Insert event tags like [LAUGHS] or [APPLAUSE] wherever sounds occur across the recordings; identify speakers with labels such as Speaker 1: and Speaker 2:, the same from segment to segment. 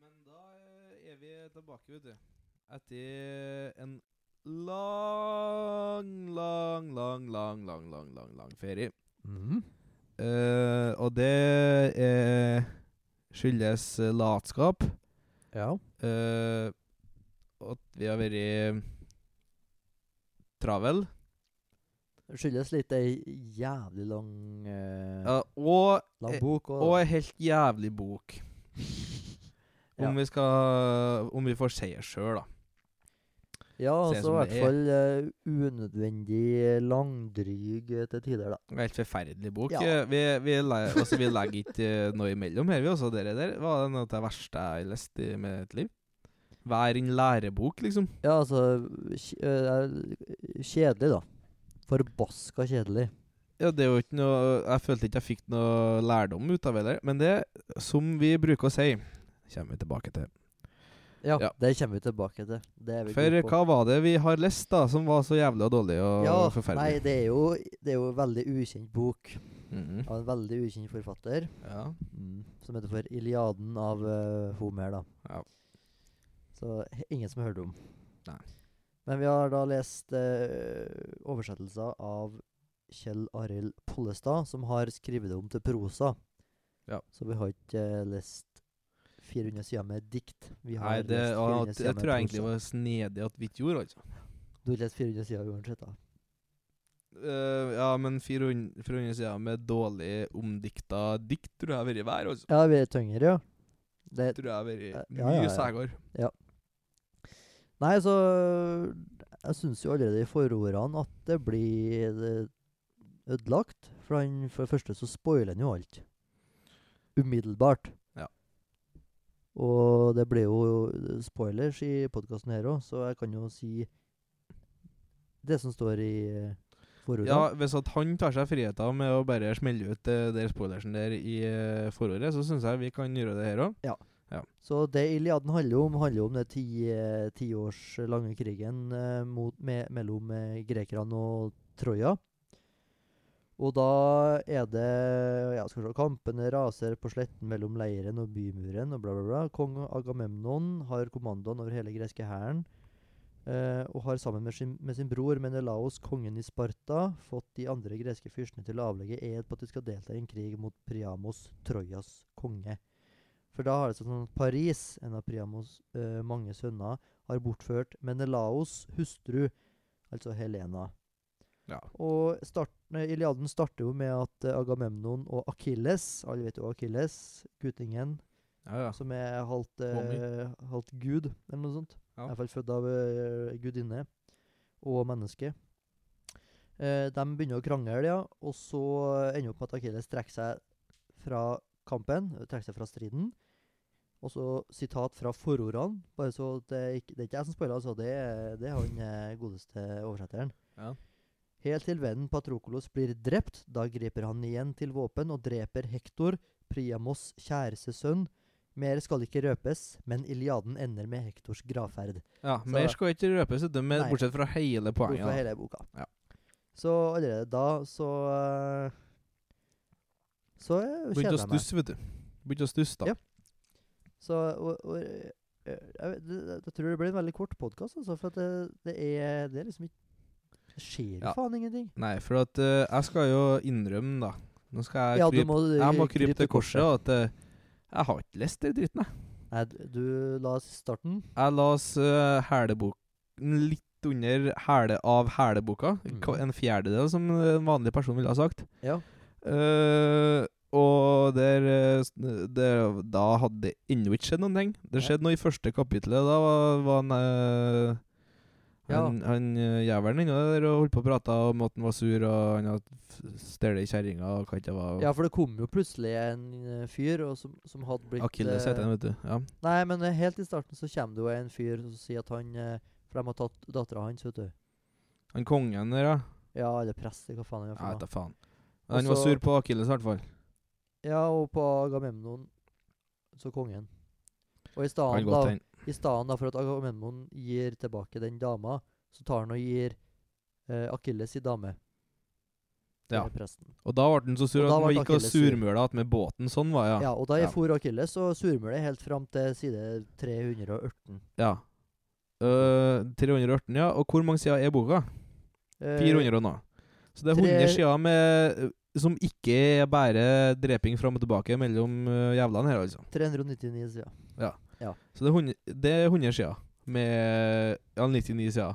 Speaker 1: vi eh, er tilbake, vet du. Etter en lang, lang, lang, lang, lang, lang, lang, lang ferie. Mm. Eh, og det eh, skyldes eh, latskap.
Speaker 2: Ja.
Speaker 1: eh, og at vi har vært travel.
Speaker 2: Det skyldes litt ei jævlig lang eh,
Speaker 1: Ja, og,
Speaker 2: Lang
Speaker 1: eh,
Speaker 2: bok og,
Speaker 1: og en helt jævlig bok.
Speaker 2: Ja.
Speaker 1: Om vi skal Om vi får si det sjøl, da.
Speaker 2: Ja,
Speaker 1: se
Speaker 2: altså i
Speaker 1: som
Speaker 2: hvert
Speaker 1: det er.
Speaker 2: fall eh, unødvendig langdryg eh, til tider, da.
Speaker 1: Helt forferdelig bok.
Speaker 2: Ja.
Speaker 1: Eh, Vi, vi, le- altså, vi legger ikke eh, noe imellom her, vi også. Dere der var noe av det verste jeg har lest i mitt liv. Hver en lærebok, liksom.
Speaker 2: Ja, altså kj- eh, Kjedelig, da. Forbaska kjedelig.
Speaker 1: Ja, det er jo ikke noe Jeg følte ikke jeg fikk noe lærdom ut av det heller. Men det, som vi bruker å si, kommer vi tilbake til.
Speaker 2: Ja,
Speaker 1: Ja.
Speaker 2: det kommer vi tilbake til. Det er vi
Speaker 1: For
Speaker 2: gode på.
Speaker 1: hva var det vi har lest, da, som var så jævlig og dårlig og
Speaker 2: ja, Nei,
Speaker 1: forferdelig?
Speaker 2: det er, jo, det er jo en veldig ukjent bok
Speaker 1: Mhm.
Speaker 2: av en veldig ukjent forfatter.
Speaker 1: ja.
Speaker 2: Som heter for 'Iliaden' av eh, Homer, da.
Speaker 1: Ja.
Speaker 2: Så he- ingen som har hørt om.
Speaker 1: Nei.
Speaker 2: Men vi har da lest eh, oversettelser av Kjell Arild Pollestad, som har skrevet det om til prosa.
Speaker 1: Ja.
Speaker 2: Så vi har ikke eh, lest 400 sider med dikt. Vi har
Speaker 1: Nei, det,
Speaker 2: lest
Speaker 1: og,
Speaker 2: 400
Speaker 1: at-
Speaker 2: sider
Speaker 1: jeg
Speaker 2: med
Speaker 1: tror jeg egentlig
Speaker 2: prosa.
Speaker 1: var snedig at vi ikke gjorde, altså.
Speaker 2: Du har lest 400 sider uansett, da.
Speaker 1: Eh, ja, men 400, 400 sider med dårlig omdikta dikt tror jeg har vært hver, altså.
Speaker 2: Ja, vi er tyngre, ja. Det,
Speaker 1: Tror jeg har vært
Speaker 2: Eh, Ja,
Speaker 1: mye
Speaker 2: ja, ja.
Speaker 1: sægere.
Speaker 2: Nei, så Jeg syns jo allerede i forordene at det blir eh, ødelagt. For, han, for det første så spoiler han jo alt. Umiddelbart.
Speaker 1: Ja.
Speaker 2: Og det ble jo spoilers i podkasten her òg, så jeg kan jo si det som står i eh,
Speaker 1: Ja,
Speaker 2: forordene.
Speaker 1: hvis at han tar seg friheten med å bare smelle ut eh, der spoilersen der i eh, forordet, så syns jeg vi kan gjøre det her òg.
Speaker 2: Så det Iliaden handler om, handler om den ti, eh, ti års lange krigen eh, mot, me, mellom eh, grekerne og Troja. Og da er det ja, skal vi se, Kampene raser på sletten mellom leiren og bymuren og bla, bla, bla. Kong Agamemnon har kommandoen over hele greske hæren. eh, og har sammen med sin, med sin bror Menelaos, kongen i Sparta, fått de andre greske fyrstene til å avlegge ed på at de skal delta i en krig mot Priamos, Trojas konge. For da har det sånn at Paris, en av Priamos eh, mange sønner, har bortført Menelaos hustru, altså Helena.
Speaker 1: Ja.
Speaker 2: Og start, nei, Iliaden starter jo med at eh, Agamemnon og Akilles, alle vet jo Akilles, guttingen,
Speaker 1: Ja, ja.
Speaker 2: som er halvt, eh, halvt gud, eller noe sånt.
Speaker 1: Ja.
Speaker 2: I hvert fall født av eh, gudinne og menneske. Eh, de begynner å krangle, ja, og så ender opp med at Akilles trekker seg fra kampen, eh, trekker seg fra striden. Og så sitat fra forordene, bare så at det, ikke, det er ikke jeg som spoiler, altså, det, er- det er han eh, godeste oversetteren.
Speaker 1: Ja.
Speaker 2: Helt til vennen Patrokolos blir drept, da griper han igjen til våpen og dreper Hektor, Priamos kjæreste sønn. Mer skal ikke røpes, men Iliaden ender med Hektors gravferd.
Speaker 1: ja
Speaker 2: Så-
Speaker 1: mer skal ikke røpes, vet du, men
Speaker 2: Nei.
Speaker 1: bortsett fra hele poenget.
Speaker 2: Hvorfor
Speaker 1: da.
Speaker 2: hele boka.
Speaker 1: Ja.
Speaker 2: Så allerede da så eh, Så eh,
Speaker 1: Begynte å
Speaker 2: kjeder jeg meg.
Speaker 1: stusse, vet du. Begynte å stusse, da.
Speaker 2: Ja. Så og, og, eh, jeg, vet- det- det- jeg tror det blir en veldig kort podkast, altså, for at det, det, er, det er liksom ikke Det skjer jo
Speaker 1: Ja.
Speaker 2: faen ingenting.
Speaker 1: Nei, for at eh, jeg skal jo innrømme, da Nå skal jeg
Speaker 2: Ja, du
Speaker 1: krype
Speaker 2: må, eh,
Speaker 1: Jeg må krype til korset, og at eh, jeg har ikke lest den dritten, jeg.
Speaker 2: Nei, du- du la oss starten.
Speaker 1: Jeg las uh, hæleboken litt under hæle av hæleboka. Ka-
Speaker 2: Mhm.
Speaker 1: En fjerdedel, som eh, en vanlig person ville ha sagt.
Speaker 2: Ja.
Speaker 1: Eh, og der, eh, s- der Da hadde det ennå ikke skjedd noen ting. Det
Speaker 2: Nei.
Speaker 1: skjedde noe i første kapitlet. Da var, var han eh,
Speaker 2: Ja.
Speaker 1: Han, han eh, jævelen inne der og holdt på å prate om at han var sur, og han hadde f- stjålet kjerringa og hva ikke det var.
Speaker 2: ja, for det kom jo plutselig en eh, fyr og som, som hadde blitt
Speaker 1: Akilles
Speaker 2: eh,
Speaker 1: heter han, vet du. Ja.
Speaker 2: Nei, men eh, helt i starten så kommer det jo en fyr som sier at han eh, For de har tatt dattera hans, vet du.
Speaker 1: Han kongen der, ja.
Speaker 2: Ja, eller prester, hva faen er det
Speaker 1: Jeg vet
Speaker 2: for noe.
Speaker 1: da faen.
Speaker 2: Og
Speaker 1: Han var
Speaker 2: så-
Speaker 1: sur på Akilles, i hvert fall.
Speaker 2: Ja, og på Agamemnon så kongen. Og i
Speaker 1: Kan
Speaker 2: stedet,
Speaker 1: godt
Speaker 2: da,
Speaker 1: hende.
Speaker 2: i stedet da for at Agamemnon gir tilbake den dama, så tar han og gir eh, Akilles i dame.
Speaker 1: Ja.
Speaker 2: denne presten.
Speaker 1: Og da ble han så sur
Speaker 2: Og
Speaker 1: at
Speaker 2: da
Speaker 1: han
Speaker 2: ble
Speaker 1: gikk og
Speaker 2: Achilles sur.
Speaker 1: surmøla att med båten. Sånn var
Speaker 2: Ja.
Speaker 1: det, ja.
Speaker 2: og da
Speaker 1: ja.
Speaker 2: jeg for Akilles og surmulet helt fram til side 318.
Speaker 1: ja. Øh, 318, ja. Og hvor mange sider er boka?
Speaker 2: Eh,
Speaker 1: 400 og noe. Så det er
Speaker 2: tre-
Speaker 1: 100 sider med som ikke er bare dreping fram og tilbake mellom øh, jævlene her, altså.
Speaker 2: 399 sider.
Speaker 1: Så det er 100, det er 100 sider med ja, 99 sider.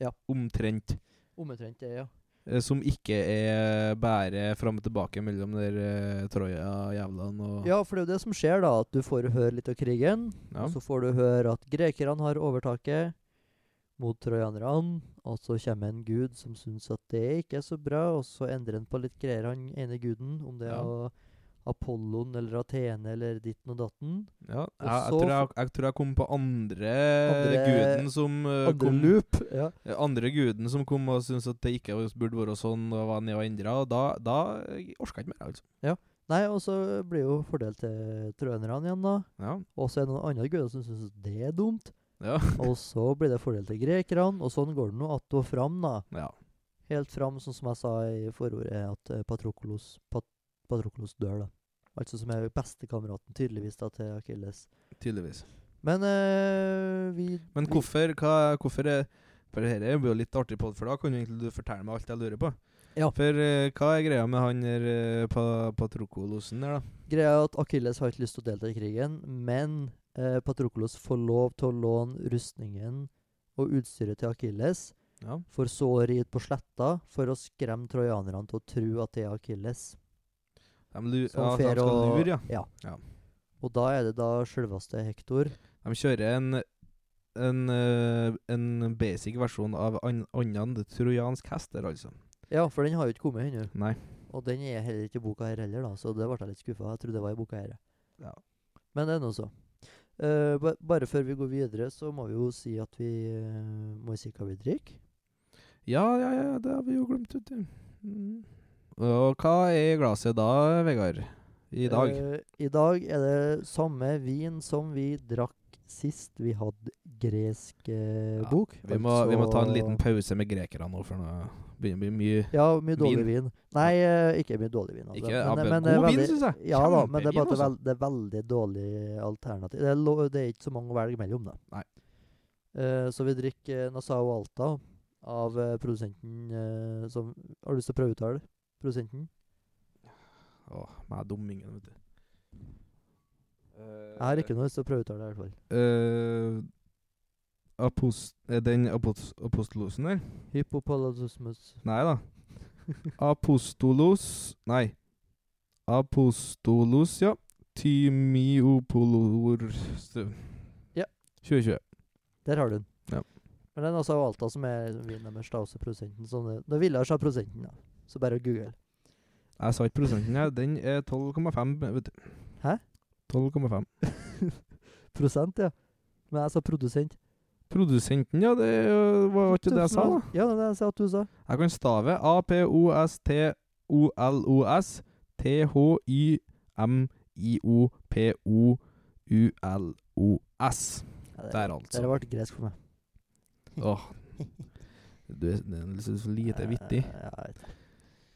Speaker 2: Ja.
Speaker 1: Omtrent.
Speaker 2: Omtrent det, ja.
Speaker 1: Eh, Som ikke er bare fram og tilbake mellom der eh, Troja-jævlene og
Speaker 2: Ja, for det er jo det som skjer, da. At du får høre litt av krigen.
Speaker 1: Ja.
Speaker 2: Så får du høre at grekerne har overtaket mot trojanerne. Og så kommer en gud som syns at det ikke er så bra, og så endrer han på litt greier, han ene guden. Om det er
Speaker 1: Ja.
Speaker 2: å- Apollon eller Athene eller ditten og datten.
Speaker 1: Ja, jeg, jeg,
Speaker 2: Og så
Speaker 1: tror jeg, jeg tror jeg kom på andre,
Speaker 2: Andre-
Speaker 1: guden som eh,
Speaker 2: Andre
Speaker 1: kom,
Speaker 2: loop. Ja.
Speaker 1: eh, andre guden som kom og syntes at det ikke burde være sånn, og var ned og endra. Og da, da orka jeg ikke mer, altså.
Speaker 2: Nei, og så blir jo fordelt til trojanerne igjen, da.
Speaker 1: Ja.
Speaker 2: Og så er det noen andre guder som syns det er dumt.
Speaker 1: Ja. [LAUGHS]
Speaker 2: og så blir det fordelt til grekerne, og sånn går det nå att og fram, da.
Speaker 1: ja.
Speaker 2: Helt fram, sånn som jeg sa i forordet, at eh, Patroklos, Pat Patroklos dør, da. Altså som er bestekameraten, tydeligvis, da, til Akilles.
Speaker 1: Tydeligvis.
Speaker 2: Men eh, vi
Speaker 1: Men hvorfor, hva, hvorfor er For det her blir jo litt artig podd, for da kan jo egentlig du fortelle meg alt jeg lurer på.
Speaker 2: Ja.
Speaker 1: For eh, hva er greia med han der eh, pa, Patrokolosen der, da?
Speaker 2: Greia er at Akilles har ikke lyst til å delta i krigen, men eh, Patroklos får lov til å låne rustningen og utstyret til Akilles,
Speaker 1: Ja.
Speaker 2: for så å ri ut på sletta for å skremme trojanerne til å tro at det er Akilles.
Speaker 1: De, lu, ja,
Speaker 2: som
Speaker 1: så
Speaker 2: fer
Speaker 1: de skal
Speaker 2: og-
Speaker 1: lure, ja.
Speaker 2: ja.
Speaker 1: Ja.
Speaker 2: Og da er det da selveste Hektor.
Speaker 1: De kjører en en, eh, en basic versjon av an- annen trojansk hest der, altså.
Speaker 2: Ja, for den har jo ikke kommet ennå.
Speaker 1: Nei.
Speaker 2: Og den er heller ikke i boka her heller, da, så det ble jeg litt skuffa. Jeg trodde det var i boka her.
Speaker 1: Ja.
Speaker 2: Men det er nå så. Eh, ba bare før vi går videre, så må vi jo si at vi eh, må si hva vi drikker.
Speaker 1: Ja, ja, ja, det har vi jo glemt, vet du. Mm. Og hva er i glasset da, Vegard? I dag?
Speaker 2: Eh, I dag er det samme vin som vi drakk sist vi hadde gresk eh,
Speaker 1: Ja,
Speaker 2: bok. altså-
Speaker 1: vi, må, vi må ta en liten
Speaker 2: pause.
Speaker 1: pause med grekerne nå, for nå begynner det å bli mye
Speaker 2: Ja, mye dårlig
Speaker 1: Vin.
Speaker 2: vin. Nei, eh, ikke mye dårlig vin. altså.
Speaker 1: Ikke, ja, men
Speaker 2: det er
Speaker 1: god vin,
Speaker 2: veldig-
Speaker 1: synes jeg.
Speaker 2: Ja da, men det er,
Speaker 1: Kjempevin,
Speaker 2: bare at det,
Speaker 1: altså.
Speaker 2: er veld, det er veldig dårlig alternativ. Det er, lo, det er ikke så mange å velge mellom, da.
Speaker 1: Nei.
Speaker 2: Eh, så vi drikker eh, Nassau Alta av eh, produsenten eh, som Har du lyst til å prøve å uttale produsenten?
Speaker 1: Åh, meg er dummingen, vet du.
Speaker 2: Jeg har ikke noe lyst til å prøve å uttale det, i hvert fall.
Speaker 1: Eh, apost... Er den apost, apostolosen der?
Speaker 2: Hypopalladusmus.
Speaker 1: Nei da. Apostolos Nei. Apostolos, ja. Tymiopolor stø-
Speaker 2: Ja.
Speaker 1: 2020.
Speaker 2: Der har du den.
Speaker 1: Ja.
Speaker 2: Men det er Nassau Alta som er vinen deres, da, også produsenten. Sånn, det- det ville jeg ha produsenten, da. Så bare google.
Speaker 1: Jeg sa ikke prosenten, jeg. Den er 12,5, vet du.
Speaker 2: Hæ?
Speaker 1: 12,5.
Speaker 2: Prosent, ja. Men jeg sa produsent.
Speaker 1: Produsenten, ja. Det øh, var ikke det jeg sa, da.
Speaker 2: Ja, det er det jeg sa at du sa.
Speaker 1: Jeg kan stave A-P-O-S-T-O-L-O-S T-H-Y-M-I-O-P-O-U-L-O-S.
Speaker 2: Ja, det-
Speaker 1: Der,
Speaker 2: Det
Speaker 1: altså.
Speaker 2: har vært gresk for meg.
Speaker 1: Åh. Du er det er så så lite vittig.
Speaker 2: Eh, Ja, jeg vet det.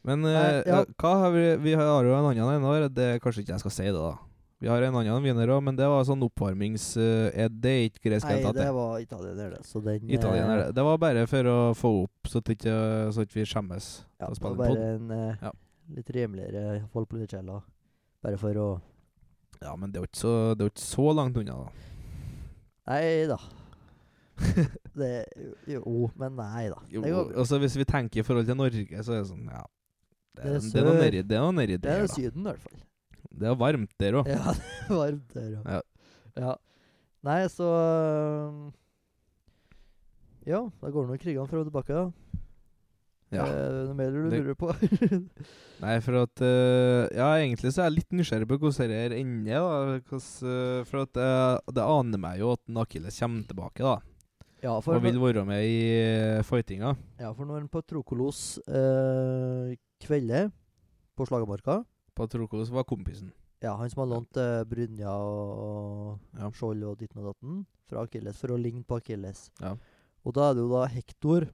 Speaker 1: Men
Speaker 2: Nei,
Speaker 1: eh,
Speaker 2: ja.
Speaker 1: hva har vi, vi har jo en annen en her. Det er kanskje ikke jeg skal si det, da. Vi har en annen vinner òg, men det var sånn oppvarmings... eh, er det er ikke gresk i det hele
Speaker 2: Nei,
Speaker 1: tatt, det.
Speaker 2: det var italiener, det. Så den eh,
Speaker 1: Italiener, det. Det var bare for å få opp, så at ikke, så at vi skjemmes. til
Speaker 2: Ja,
Speaker 1: å
Speaker 2: det
Speaker 1: spille en
Speaker 2: var bare
Speaker 1: podd.
Speaker 2: en eh,
Speaker 1: Ja.
Speaker 2: litt rimeligere Valpolicella. Bare for å
Speaker 1: Ja, men det er jo ikke så, det er jo ikke så langt unna, da.
Speaker 2: Nei
Speaker 1: [LAUGHS]
Speaker 2: da. det Jo, men nei da.
Speaker 1: Jo,
Speaker 2: det, går, bra.
Speaker 1: altså Hvis vi tenker i forhold til Norge, så er det sånn, ja Det er,
Speaker 2: Det er
Speaker 1: det er noe
Speaker 2: sør.
Speaker 1: nedi det er noe nedi
Speaker 2: det er
Speaker 1: der,
Speaker 2: jo
Speaker 1: da.
Speaker 2: Syden, i hvert fall.
Speaker 1: Det er varmt der òg.
Speaker 2: Ja, det er varmt der òg.
Speaker 1: Ja.
Speaker 2: ja. Nei, så øhm, Ja, da går nå krigene fra og tilbake, da.
Speaker 1: Ja.
Speaker 2: Eh, noe mer du
Speaker 1: Det-
Speaker 2: lurer på?
Speaker 1: Nei, for at eh, Ja, egentlig så er jeg litt nysgjerrig på hvordan det her ender. da Hvordan, eh, For at eh, det aner meg jo at en Akilles kommer tilbake, da.
Speaker 2: ja, for,
Speaker 1: Og vil være med i eh, fightinga.
Speaker 2: ja, for når en patrokolos eh, kvelder på Slagamarka
Speaker 1: Patrokos var kompisen.
Speaker 2: Ja, han som har lånt eh, Brynja og,
Speaker 1: Ja.
Speaker 2: og Skjold og ditten og datten fra Akilles, for å ligne på Akilles.
Speaker 1: Ja.
Speaker 2: Og da er det jo da Hektor,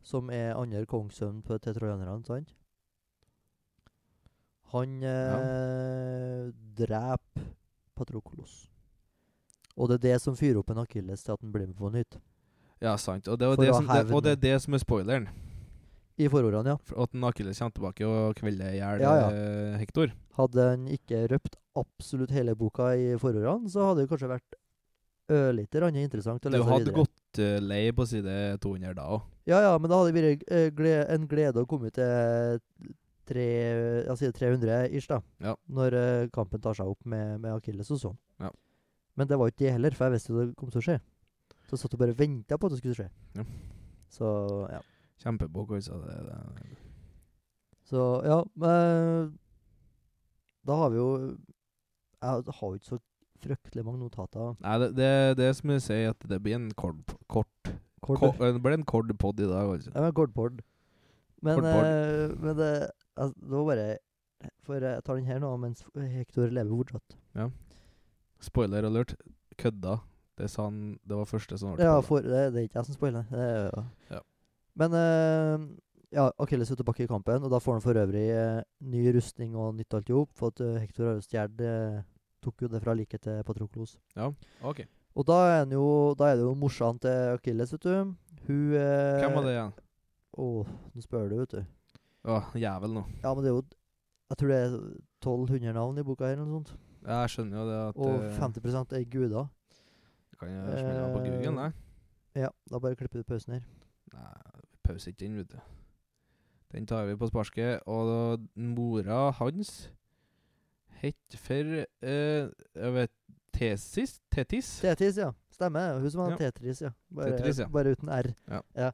Speaker 2: som er andre kongssønn på- til trojanerne, sant? Han eh, dreper Patroklos. Og det er det som fyrer opp en akilles til at han blir med på nytt.
Speaker 1: Ja, sant. Og det, er jo
Speaker 2: For
Speaker 1: det
Speaker 2: å
Speaker 1: som, det, og
Speaker 2: hevne.
Speaker 1: det er det som er spoileren.
Speaker 2: I forordene, ja.
Speaker 1: For At en Akilles kommer tilbake og kvelder i hjel
Speaker 2: Ja, ja.
Speaker 1: eh, Hektor.
Speaker 2: Hadde han ikke røpt absolutt hele boka i forordene, så hadde det kanskje vært ørlite grann interessant å
Speaker 1: Du
Speaker 2: lese
Speaker 1: hadde
Speaker 2: videre.
Speaker 1: gått eh, lei på side 200 da òg.
Speaker 2: Ja, ja, men da hadde det vært eh, gle- en glede å komme til tre, jeg sier 300 ish, da.
Speaker 1: Ja.
Speaker 2: Når eh, kampen tar seg opp med, med Akilles og sånn.
Speaker 1: Ja.
Speaker 2: Men det var jo ikke det heller, for jeg visste jo det kom til å skje. Så jeg satt og bare venta på at det skulle skje.
Speaker 1: Ja.
Speaker 2: Så ja.
Speaker 1: Kjempebok, altså. Det, det.
Speaker 2: Så ja, men Da har vi jo Jeg har jo ikke så fryktelig mange notater.
Speaker 1: Nei, det, det, det er som jeg sier, at det blir en kort, kort,
Speaker 2: Kort,
Speaker 1: ko- eh, Det blir en kort pod i dag, altså.
Speaker 2: Ja, men kordbord. Men,
Speaker 1: Kordbord.
Speaker 2: eh, men det, altså, det var bare For jeg tar den her nå mens Hector lever fortsatt.
Speaker 1: Spoiler alert. Kødda. Det sa han Det var første som ble
Speaker 2: Ja,
Speaker 1: spoilet.
Speaker 2: for, det, det er ikke jeg som spoiler. Det er, jo-
Speaker 1: Ja.
Speaker 2: Men eh, ja, Achilles er tilbake i kampen, og da får han for øvrig eh, ny rustning og nytt alt i hop. For at eh, Hector har jo stjålet eh, Tok jo det fra liket til Patroklos.
Speaker 1: Ok.
Speaker 2: Og da er, han jo, da er det jo morsan til Achilles, vet du. Hun eh,
Speaker 1: Hvem var det igjen?
Speaker 2: Å, nå spør du, vet du.
Speaker 1: Å, jævel nå.
Speaker 2: Ja, men det er jo Jeg tror det er 1200 navn i boka her, eller noe sånt.
Speaker 1: Ja, Jeg skjønner jo det at
Speaker 2: Og
Speaker 1: eh,
Speaker 2: 50 er guder.
Speaker 1: Kan jeg smelle meg på
Speaker 2: Eh.
Speaker 1: Google, nei?
Speaker 2: Ja, da bare klipper du pausen
Speaker 1: [LAUGHS]
Speaker 2: her.
Speaker 1: Nei, vi pauser ikke den, vet du. Den tar vi på sparket. Og mora hans het for eh, Jeg vet Tesis? Tetis?
Speaker 2: Tetis, ja. Stemmer. det. Hun som har
Speaker 1: Ja.
Speaker 2: Tetris, ja. Bare,
Speaker 1: Tetris, ja.
Speaker 2: bare uten R.
Speaker 1: Ja.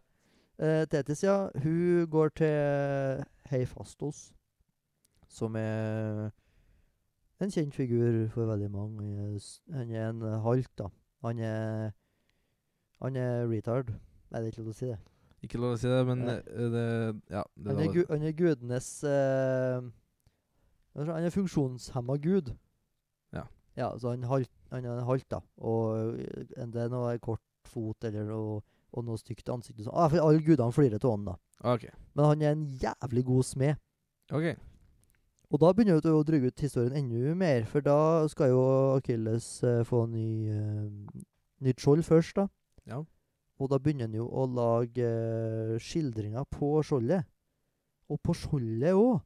Speaker 2: Eh, Tetis, ja. Hun går til Heifastos, som er en kjent figur for veldig mange. Han er s- Han er en eh, halt, da. Han er Han er retard. Nei, det er ikke lov til å si det.
Speaker 1: Ikke lov å si det, men
Speaker 2: Nei.
Speaker 1: eh, det Ja. Det
Speaker 2: Han er,
Speaker 1: var-
Speaker 2: gu, han er gudenes eh, hva skal jeg si, Han er funksjonshemma gud.
Speaker 1: Ja.
Speaker 2: ja så han, halt, han er en halt, da. Og eh, det er noe kort fot eller noe, og noe stygt ansikt. og sånn. Ah, for alle gudene flirer av han, da.
Speaker 1: OK.
Speaker 2: Men han er en jævlig god smed.
Speaker 1: ok
Speaker 2: Og da begynner vi å drygge ut historien enda mer, for da skal jo Akilles eh, få ny, eh, nytt skjold først, da.
Speaker 1: Ja.
Speaker 2: Og da begynner han jo å lage eh, skildringer på skjoldet. Og på skjoldet òg.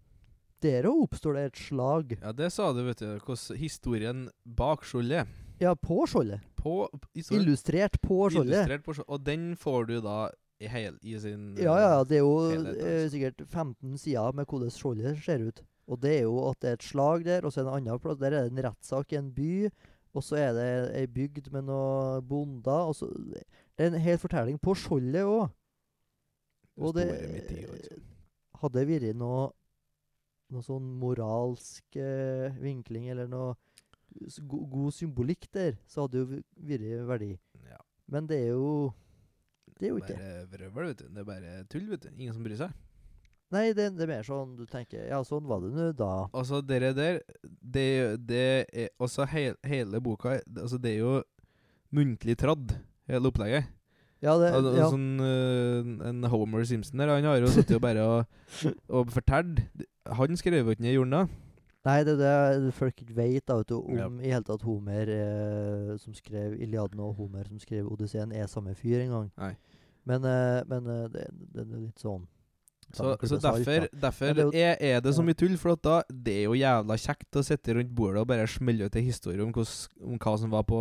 Speaker 2: Der òg oppstår det et slag.
Speaker 1: Ja, det sa du, vet du. Hvordan historien bak skjoldet
Speaker 2: Ja, på skjoldet.
Speaker 1: På historien
Speaker 2: Illustrert på skjoldet.
Speaker 1: illustrert på skjoldet. Og den får du da i, hel, i sin
Speaker 2: Ja, ja, ja, det er jo
Speaker 1: Helhet,
Speaker 2: eh, sikkert 15 sider med hvordan skjoldet ser ut. Og det er jo at det er et slag der, og så er det en annen plass. Der er det en rettssak i en by, og så er det ei bygd med noen bonder, og så Det er en hel fortelling på skjoldet òg. Og det
Speaker 1: eh, store midt i, altså.
Speaker 2: hadde det vært noe noe sånn moralsk eh, vinkling eller noe s- go god symbolikk der, så hadde det jo vært verdi.
Speaker 1: Ja.
Speaker 2: Men det er jo Det er jo ikke det.
Speaker 1: Bare vrøvl, vet du. Det er bare tull, vet du. Ingen som bryr seg.
Speaker 2: Nei, det, det er mer sånn du tenker Ja, sånn var det nå da.
Speaker 1: Altså, dere der Det, det er Altså, hel, hele boka det- Altså, det er jo muntlig tradd, hele opplegget.
Speaker 2: Ja, det,
Speaker 1: Altså,
Speaker 2: Eh, ja.
Speaker 1: sånn, øh, en Homer Simpson der, han har jo sittet og bare
Speaker 2: [LAUGHS]
Speaker 1: og, og fortalt. Han skrev jo ikke ned i jorda.
Speaker 2: Nei, det er det folk ikke vet da, vet du, om
Speaker 1: Ja.
Speaker 2: i hele tatt Homer eh, som skrev Iliaden og Homer som skrev Odysseen, er samme fyr en gang.
Speaker 1: Nei.
Speaker 2: Men, eh, men eh, det, det er litt sånn
Speaker 1: Så,
Speaker 2: Ta en
Speaker 1: så
Speaker 2: klype salt,
Speaker 1: derfor,
Speaker 2: da. Men
Speaker 1: derfor
Speaker 2: det er jo-
Speaker 1: er, er det så
Speaker 2: ja.
Speaker 1: mye tull, for at da det er jo jævla kjekt å sitte rundt bordet og bare smelle ut en historie om, hvordan- om hva som var på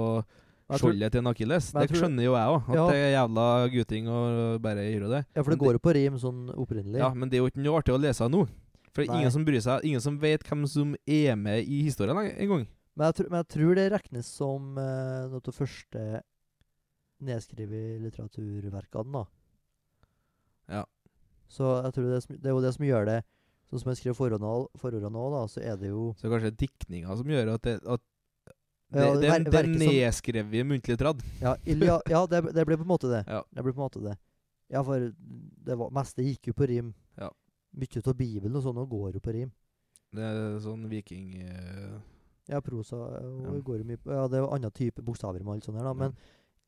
Speaker 2: Jeg tror-
Speaker 1: skjoldet til en akilles.
Speaker 2: Men
Speaker 1: Det
Speaker 2: jeg tror-
Speaker 1: skjønner jo jeg òg, at
Speaker 2: Ja.
Speaker 1: det er jævla guting å bare gjøre det.
Speaker 2: Ja, for
Speaker 1: Men
Speaker 2: det går jo på rim sånn opprinnelig.
Speaker 1: Ja, men det er jo ikke noe artig å lese nå. For det er
Speaker 2: Nei.
Speaker 1: ingen som bryr seg, ingen som vet hvem som er med i historien en- en gang.
Speaker 2: Men, jeg tror, men jeg tror det regnes som eh, noe av det første nedskrevet litteraturverkene, da.
Speaker 1: Ja.
Speaker 2: Så jeg tror det, er som- det er jo det som gjør det. Sånn som jeg skrev forordene forordene nå, da, så er det jo
Speaker 1: Så kanskje det er diktninga som gjør at det, at det, det,
Speaker 2: Ja, ver-
Speaker 1: det er
Speaker 2: verket som-
Speaker 1: nedskrevet i muntlig tradd.
Speaker 2: Ja,
Speaker 1: [LAUGHS]
Speaker 2: Ilja, ja det, det ble på en måte det.
Speaker 1: Ja.
Speaker 2: Det ble på en måte det. Ja, for det var, meste gikk jo på rim.
Speaker 1: Ja.
Speaker 2: Mye av Bibelen og sånn og går jo på rim.
Speaker 1: Det er sånn viking... eh,
Speaker 2: Ja, prosa og
Speaker 1: Ja.
Speaker 2: går jo mye på Ja, det er jo annen type bokstaver med alt sånt her, da. Men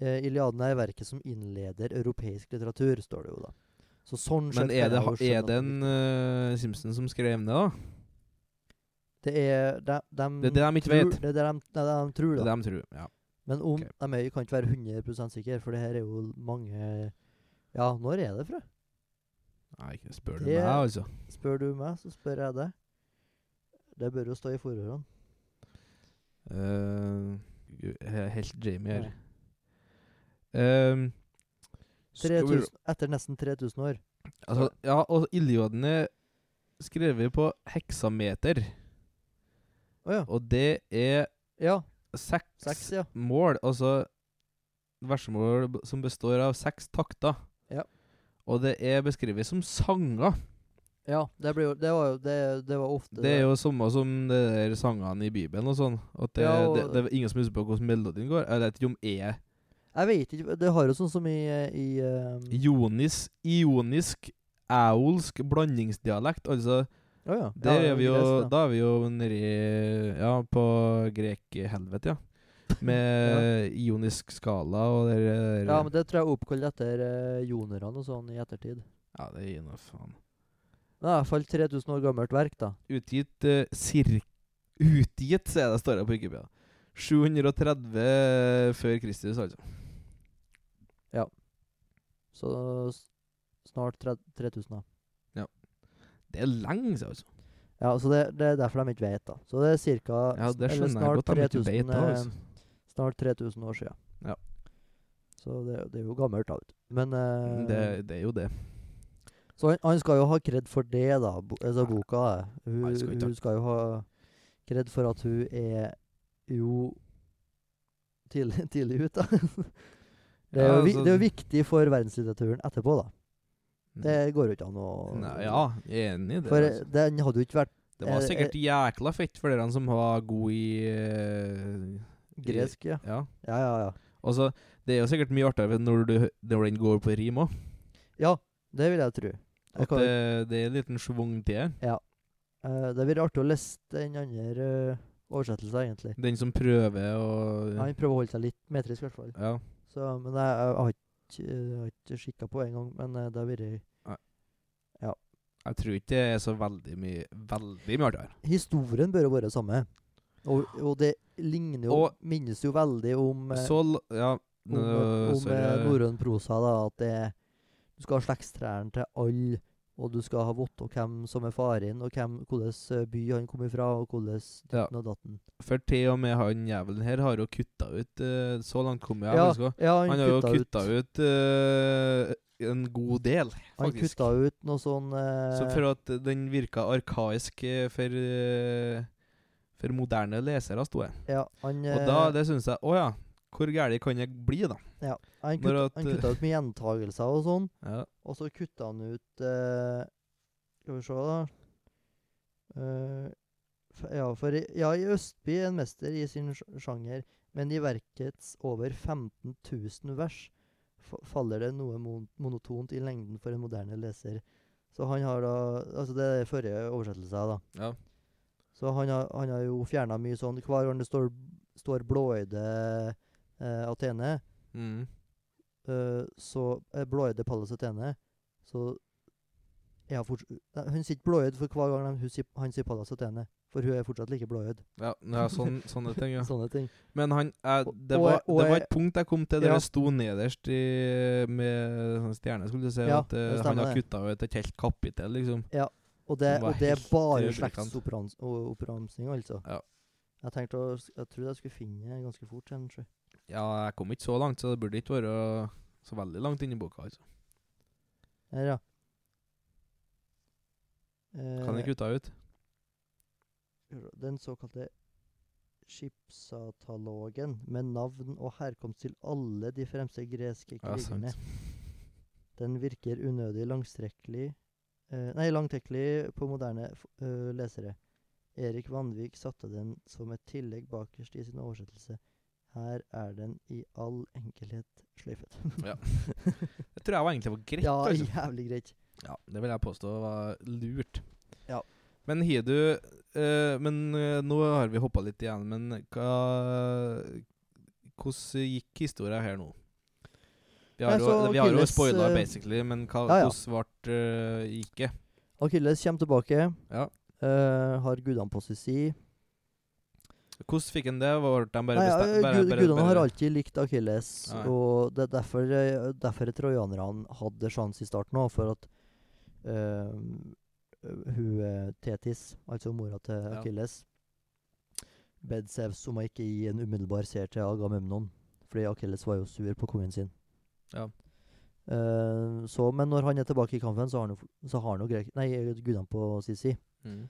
Speaker 2: eh, Iliaden er verket som innleder europeisk litteratur, står det jo da. Så sånn
Speaker 1: Men
Speaker 2: sett
Speaker 1: er
Speaker 2: kan
Speaker 1: det,
Speaker 2: jeg jo
Speaker 1: ha-
Speaker 2: skjønne
Speaker 1: er
Speaker 2: at
Speaker 1: det en eh, Simpson som skrev ned, da?
Speaker 2: Det er de, dem
Speaker 1: Det er det de ikke
Speaker 2: tror-
Speaker 1: vet.
Speaker 2: Det er det de, det er det de tror,
Speaker 1: Det
Speaker 2: da.
Speaker 1: er det de tror. Ja.
Speaker 2: Men om
Speaker 1: Ok.
Speaker 2: de er, kan ikke være 100 sikre, for det her er jo mange Ja, når er det fra?
Speaker 1: Nei, ikke spør du
Speaker 2: Det-
Speaker 1: meg, altså.
Speaker 2: Spør du meg, så spør jeg deg. Det bør jo stå i forhånd.
Speaker 1: Eh, Gud, jeg er helt Jamie her.
Speaker 2: Ja.
Speaker 1: Ehm, skal vi-
Speaker 2: 3000, etter nesten 3000 år.
Speaker 1: altså, ja, og Iliaden er skrevet på heksameter,
Speaker 2: Å ja.
Speaker 1: og det er
Speaker 2: Ja.
Speaker 1: seks,
Speaker 2: Seks, ja.
Speaker 1: mål, altså versemål b- som består av seks takter.
Speaker 2: Ja.
Speaker 1: Og det er beskrevet som sanger.
Speaker 2: ja det, blir jo, det var jo det, det var ofte
Speaker 1: Det er jo samme som de der sangene i Bibelen og sånn. At det,
Speaker 2: Ja, og-
Speaker 1: det, det er ingen som husker på hvordan melodien går. Jeg vet ikke om E
Speaker 2: Jeg vet ikke Det har jo sånn som i, eh, i eh,
Speaker 1: Jonis, ionisk, æolsk blandingsdialekt. Altså,
Speaker 2: Å ja.
Speaker 1: der
Speaker 2: ja,
Speaker 1: er vi jo
Speaker 2: gresk, da.
Speaker 1: Da er vi jo nedi Ja, på
Speaker 2: [LAUGHS]
Speaker 1: grekhelvete, ja. Med ionisk skala og det der eh,
Speaker 2: Ja, men det tror jeg er oppkalt etter eh, jonerne og sånn i ettertid.
Speaker 1: Ja, det gir noe faen.
Speaker 2: Det er i hvert fall 3000 år gammelt verk, da.
Speaker 1: Utgitt eh, cirk... Utgitt, så er det står det på Wikipedia. 730 før Kristus, altså.
Speaker 2: Så s- snart tre- 3000, da.
Speaker 1: Det er lenge siden, altså.
Speaker 2: Ja, så det, det er derfor de ikke vet, da. Så det er ca.
Speaker 1: Ja, det skjønner jeg godt. De ikke vet da, altså.
Speaker 2: snart 3000 år siden.
Speaker 1: Ja.
Speaker 2: Så det, det er jo gammelt, da. vet du. Men eh,
Speaker 1: Det, det er jo det.
Speaker 2: Så han, han skal jo ha kred for det, da. Bo, altså
Speaker 1: Nei.
Speaker 2: boka. da. Hun,
Speaker 1: Nei, skal ikke ha-
Speaker 2: hun skal jo ha kred for at hun er jo tidlig, [LAUGHS] tidlig ute, da. Det er,
Speaker 1: Ja,
Speaker 2: jo, vi,
Speaker 1: altså- Mm.
Speaker 2: det er jo viktig for verdenslitteraturen etterpå, da. Det går jo ikke an å
Speaker 1: Nei, ja, jeg er enig i det.
Speaker 2: For
Speaker 1: altså.
Speaker 2: eh, den hadde jo ikke vært
Speaker 1: Det var
Speaker 2: Eh,
Speaker 1: sikkert jækla fett for dere som var god i eh,
Speaker 2: gresk, ja.
Speaker 1: Ja.
Speaker 2: Ja, ja, ja.
Speaker 1: Altså, det er jo sikkert mye artigere når, du, når den går på rim òg.
Speaker 2: Ja, det vil jeg tro. Jeg
Speaker 1: At
Speaker 2: kan,
Speaker 1: det, det er en liten schwung til det.
Speaker 2: eh, det blir artig å lese den andre eh, oversettelsen, egentlig.
Speaker 1: Den som prøver å
Speaker 2: Han prøver å holde seg litt metrisk, i hvert fall.
Speaker 1: Ja.
Speaker 2: Så, men jeg, jeg, har ikke, jeg har ikke skikka på en gang, men eh, det har vært
Speaker 1: Jeg tror ikke det er så veldig mye Veldig mye artigere.
Speaker 2: Historien bør jo være samme. Og, og det ligner jo
Speaker 1: Og-
Speaker 2: Minnes jo veldig om, eh,
Speaker 1: Så l- Ja.
Speaker 2: om,
Speaker 1: Nå,
Speaker 2: eh, om
Speaker 1: sorry.
Speaker 2: eh, norrøn prosa, da, at det er Du skal ha slektstrærne til alle, og du skal ha vite hvem som er faren, og hvem, hvilken by han kom ifra, og hvordan
Speaker 1: Ja.
Speaker 2: ditten og datten.
Speaker 1: For til og med han jævelen her har jo kutta ut eh, Så langt kom jeg, jeg
Speaker 2: Ja,
Speaker 1: husker også.
Speaker 2: ja,
Speaker 1: Han har jo kutta ut eh, en god del,
Speaker 2: Han
Speaker 1: faktisk.
Speaker 2: kutta ut noe sånn eh,
Speaker 1: Så for at den virka arkaisk eh, for, eh, for moderne lesere, sto jeg.
Speaker 2: ja, han,
Speaker 1: Og
Speaker 2: eh,
Speaker 1: da det syns jeg Å ja, hvor gæren kan jeg bli, da?
Speaker 2: han,
Speaker 1: når
Speaker 2: kutta,
Speaker 1: at,
Speaker 2: han
Speaker 1: eh,
Speaker 2: kutta ut med gjentagelser og sånn.
Speaker 1: Ja.
Speaker 2: Og så kutta han ut eh, Skal vi se, da. Eh, f- ja, for i, ja, i Østby en mester i sin sj- sjanger, men i verkets over 15 000 vers fa- faller det noe mon monotont i lengden for en moderne leser. Så han har da Altså, det er forrige oversettelse, da.
Speaker 1: ja.
Speaker 2: Så han har, han har jo fjerna mye sånn Hver gang det står, står blåøyde eh, Atene,
Speaker 1: Mm.
Speaker 2: Eh, så eh, blåøyde Pallas Athene Så er hun forts- Nei, Hun sier ikke blåøyd for hver gang han, hun sier, han sier Pallas Athene, for hun er fortsatt like blåøyd.
Speaker 1: ja, ja sånn, sånne ting,
Speaker 2: [LAUGHS]
Speaker 1: ja.
Speaker 2: Sånne ting.
Speaker 1: Men han eh, det,
Speaker 2: Og-
Speaker 1: var,
Speaker 2: og
Speaker 1: det var
Speaker 2: jeg-
Speaker 1: et punkt jeg kom til der
Speaker 2: Ja.
Speaker 1: det sto nederst i, med sånn stjerne, skulle du si,
Speaker 2: Ja,
Speaker 1: at eh,
Speaker 2: det
Speaker 1: han
Speaker 2: stemmer
Speaker 1: har
Speaker 2: det.
Speaker 1: kutta ut et helt kapittel, liksom.
Speaker 2: Og det,
Speaker 1: Som var
Speaker 2: og det er
Speaker 1: helt
Speaker 2: bare
Speaker 1: ubrukelig.
Speaker 2: slektsoppramsing, altså.
Speaker 1: Ja.
Speaker 2: Jeg tenkte å, s- jeg trodde jeg skulle finne det ganske fort. Sen, sjø.
Speaker 1: Ja, jeg kom ikke så langt, så det burde ikke være så veldig langt inni boka, altså.
Speaker 2: Her, ja.
Speaker 1: Kan jeg kutta ut?
Speaker 2: Eh, den såkalte skipsatalogen med navn og herkomst til alle de fremste greske
Speaker 1: Ja, sant.
Speaker 2: krigerne. Den virker unødig langstrekkelig eh, Nei, langtekkelig på moderne f eh, lesere. Erik Vanvik satte den som et tillegg bakerst i sin oversettelse. Her er den i all enkelhet sløyfet. [LAUGHS]
Speaker 1: Ja. Det tror jeg var egentlig var greit.
Speaker 2: ja,
Speaker 1: altså.
Speaker 2: jævlig greit.
Speaker 1: Ja, det vil jeg påstå var lurt.
Speaker 2: Ja.
Speaker 1: Men har du eh, Men eh, nå har vi hoppa litt igjen, men hva Hvordan gikk historia her nå? Vi har
Speaker 2: Nei,
Speaker 1: jo,
Speaker 2: så
Speaker 1: vi har jo
Speaker 2: Achilles,
Speaker 1: spoila
Speaker 2: eh,
Speaker 1: basically, men hva,
Speaker 2: ja, ja.
Speaker 1: hvordan ble det gikk det?
Speaker 2: Akilles kommer tilbake.
Speaker 1: Ja.
Speaker 2: eh, har gudene på sin side.
Speaker 1: Hvordan fikk han det? Var de bare
Speaker 2: Nei, ja,
Speaker 1: bestem- bare-
Speaker 2: gud,
Speaker 1: bare-
Speaker 2: gudene har
Speaker 1: bare-
Speaker 2: alltid likt Akilles,
Speaker 1: Nei.
Speaker 2: og det er derfor, eh, derfor trojanerne hadde sjanse i starten òg, for at eh, hun eh, Tetis, altså mora til
Speaker 1: Ja.
Speaker 2: Akilles, bed Zeus om å ikke gi en umiddelbar seier til Agamemnon, fordi Akilles var jo sur på kongen sin.
Speaker 1: Ja.
Speaker 2: Eh, så, men når han er tilbake i kampen, så har han jo, f- så har han jo grek nei, gudene på sin side.
Speaker 1: Mm.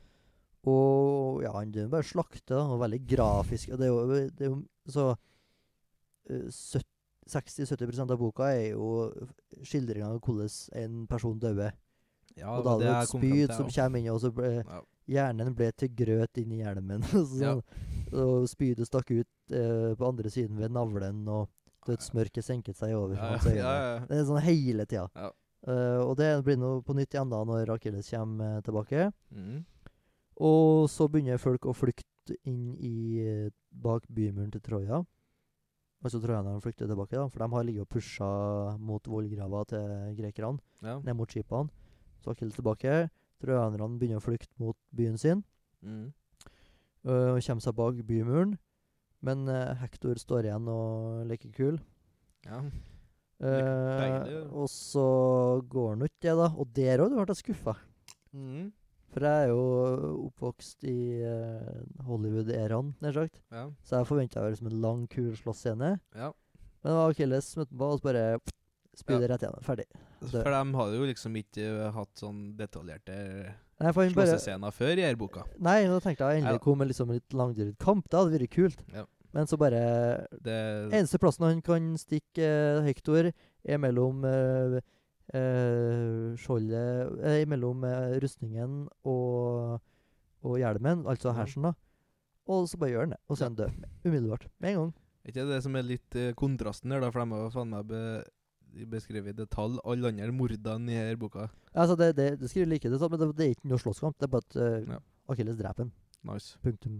Speaker 2: Og ja, han driver bare og slakter, da, og veldig grafisk. Og det er jo, det er jo så eh, søt- 60-70 av boka er jo skildringa av hvordan en person døde.
Speaker 1: Ja,
Speaker 2: og da
Speaker 1: det
Speaker 2: er det
Speaker 1: jeg
Speaker 2: et
Speaker 1: kom frem til,
Speaker 2: spyd som
Speaker 1: jeg
Speaker 2: kommer inn, og så ble,
Speaker 1: også.
Speaker 2: hjernen ble til grøt inni hjelmen. [LAUGHS] og
Speaker 1: Ja.
Speaker 2: sånn, Og spydet stakk ut eh, på andre siden ved navlen, og dødsmørket senket seg over
Speaker 1: Ja,
Speaker 2: hans
Speaker 1: ja,
Speaker 2: øyne.
Speaker 1: ja, ja.
Speaker 2: Det er sånn hele tida.
Speaker 1: Ja.
Speaker 2: Eh, og det blir nå på nytt igjen da når Akilles kommer eh, tilbake.
Speaker 1: Mm.
Speaker 2: Og så begynner folk å flykte inn i eh, bak bymuren til Troja. Altså trojanerne flykter tilbake, da, for de har ligget og pusha mot vollgrava til grekerne,
Speaker 1: Ja.
Speaker 2: ned mot skipene. Så Akilles tilbake. Trojanerne begynner å flykte mot byen sin
Speaker 1: Mm.
Speaker 2: ø, og kommer seg bak bymuren. Men eh, Hector står igjen og leker kul.
Speaker 1: ja.
Speaker 2: Eh,
Speaker 1: deilig, da.
Speaker 2: og så går han ut, det, da. Og der òg ble jeg skuffa.
Speaker 1: Mm.
Speaker 2: For jeg er jo oppvokst i eh, Hollywood-æraen, nær sagt.
Speaker 1: ja.
Speaker 2: Så jeg forventa liksom en lang, kul slåssscene.
Speaker 1: Ja.
Speaker 2: Men det var Achilles som møtte på, og så bare spydde rett igjen. Ferdig. Det-
Speaker 1: For de hadde jo liksom ikke eh, hatt sånn detaljerte
Speaker 2: Nei, for han bare,
Speaker 1: slåssescener før i denne boka.
Speaker 2: nei, da tenkte jeg
Speaker 1: Ja.
Speaker 2: endelig kom med liksom litt langdrydd kamp. Det hadde vært kult.
Speaker 1: Ja. Mm.
Speaker 2: Men så bare
Speaker 1: Det
Speaker 2: Eneste plassen han kan stikke eh, Hector, er mellom eh, eh, skjoldet eh, Mellom eh, rustningen og, og hjelmen, altså
Speaker 1: Ja.
Speaker 2: hersen, da. Og så bare gjør han det. Og så er han død. Umiddelbart. Med en gang.
Speaker 1: er ikke det som er litt eh, kontrasten her, da, for de har jo faen meg be, beskrevet i detalj alle andre mordene i denne boka.
Speaker 2: Altså, det, det, det skriver like det, sånn, men det, det er ikke noe slåsskamp. Det er bare at eh,
Speaker 1: Ja.
Speaker 2: Achilles dreper han.
Speaker 1: Nice.
Speaker 2: Punktum.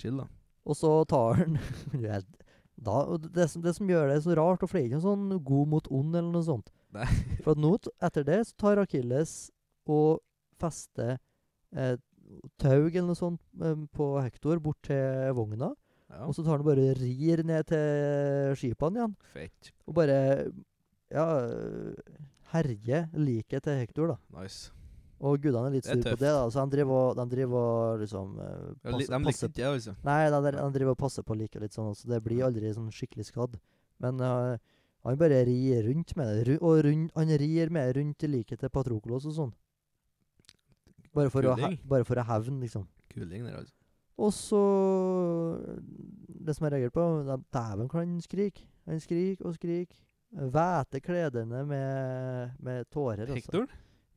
Speaker 1: Chill, da.
Speaker 2: Og så tar han [LAUGHS] det er helt- da, og det, som, det som gjør det så rart, og for det er ikke noe sånn god mot ond eller noe sånt
Speaker 1: Nei.
Speaker 2: [LAUGHS] For at nå, t- etter det, så tar Achilles og fester eh, tau eller noe sånt eh, på Hector bort til vogna.
Speaker 1: Ja.
Speaker 2: Og så tar han og bare rir ned til skipene igjen.
Speaker 1: Fett.
Speaker 2: Og bare ja, øh, herjer liket til Hector, da.
Speaker 1: Nice.
Speaker 2: Og gudene er litt
Speaker 1: Det er
Speaker 2: sure på
Speaker 1: tøft.
Speaker 2: det, da. Så de driver og, de driver og liksom eh,
Speaker 1: Ja, li, de
Speaker 2: passer-
Speaker 1: likte
Speaker 2: passer-
Speaker 1: ikke det, altså.
Speaker 2: Nei, de, de de driver og passer på like litt sånn også. Det blir aldri sånn skikkelig skadd. Men eh, han bare rir rundt med det. Ru- Og rund, han rir med det rundt i liket til Patroklos og sånn. Bare for, å, he-
Speaker 1: Kuling.
Speaker 2: bare for å hevne, liksom.
Speaker 1: Kuling der, altså.
Speaker 2: Og så Det som jeg reagerer på, det er dæven hvor han skriker. Han skriker og skriker. Væter kledene med, med tårer. altså.
Speaker 1: Hector?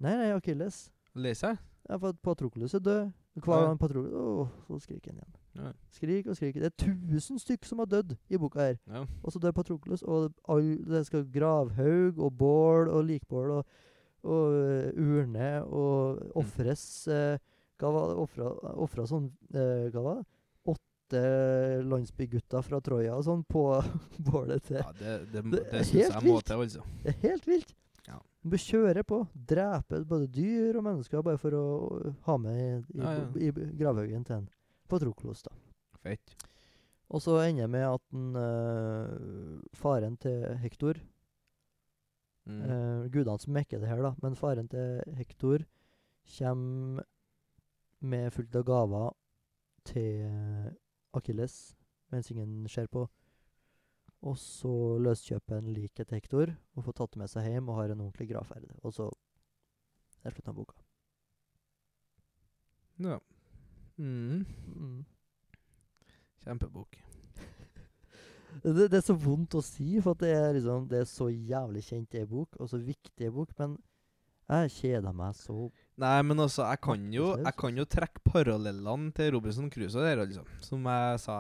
Speaker 2: Nei, nei, Akilles.
Speaker 1: Leser jeg?
Speaker 2: Ja, for at Patrokles er død. Hver
Speaker 1: Ja.
Speaker 2: gang Patrokles Åh, så skriker han igjen.
Speaker 1: Ja.
Speaker 2: Skrik og skrik. Det er 1000 stykk som har dødd i boka her.
Speaker 1: Ja.
Speaker 2: Og så dør Patrokles, og all, det skal gravhaug og bål og likbål og, og eh, urne
Speaker 1: Mm.
Speaker 2: og ofres eh, Hva var det? Ofra, ofra sånn eh, Hva var det? Åtte landsbygutter fra Troja og sånn på [LAUGHS] bålet til
Speaker 1: Ja, det, det, det,
Speaker 2: Det er
Speaker 1: syns
Speaker 2: helt
Speaker 1: jeg må
Speaker 2: vilt.
Speaker 1: til, altså.
Speaker 2: det er helt vilt.
Speaker 1: Ja.
Speaker 2: Du kjører på. Dreper både dyr og mennesker bare for å øh, ha med i, i,
Speaker 1: Ja, ja.
Speaker 2: i gravhaugen til en Patroklos. da.
Speaker 1: Fett.
Speaker 2: Og så ender jeg med at den, eh, faren til Hektor
Speaker 1: Mm.
Speaker 2: eh, Gudene som mekker det her, da. Men faren til Hektor kommer med fullt av gaver til Akilles mens ingen ser på. Og så løskjøper han liket til Hektor og får tatt det med seg hjem og har en ordentlig gravferd. Og så er slutten av boka.
Speaker 1: Ja. Mm.
Speaker 2: Mm.
Speaker 1: Kjempebok.
Speaker 2: Det, det er så vondt å si, for at det er, liksom, det er så jævlig kjent ei bok, og så viktig ei bok, men jeg kjeder meg så
Speaker 1: Nei, men altså, jeg kan jo,
Speaker 2: Matteslaus.
Speaker 1: jeg kan jo trekke parallellene til Robinson Crusoe der, altså. Som jeg sa.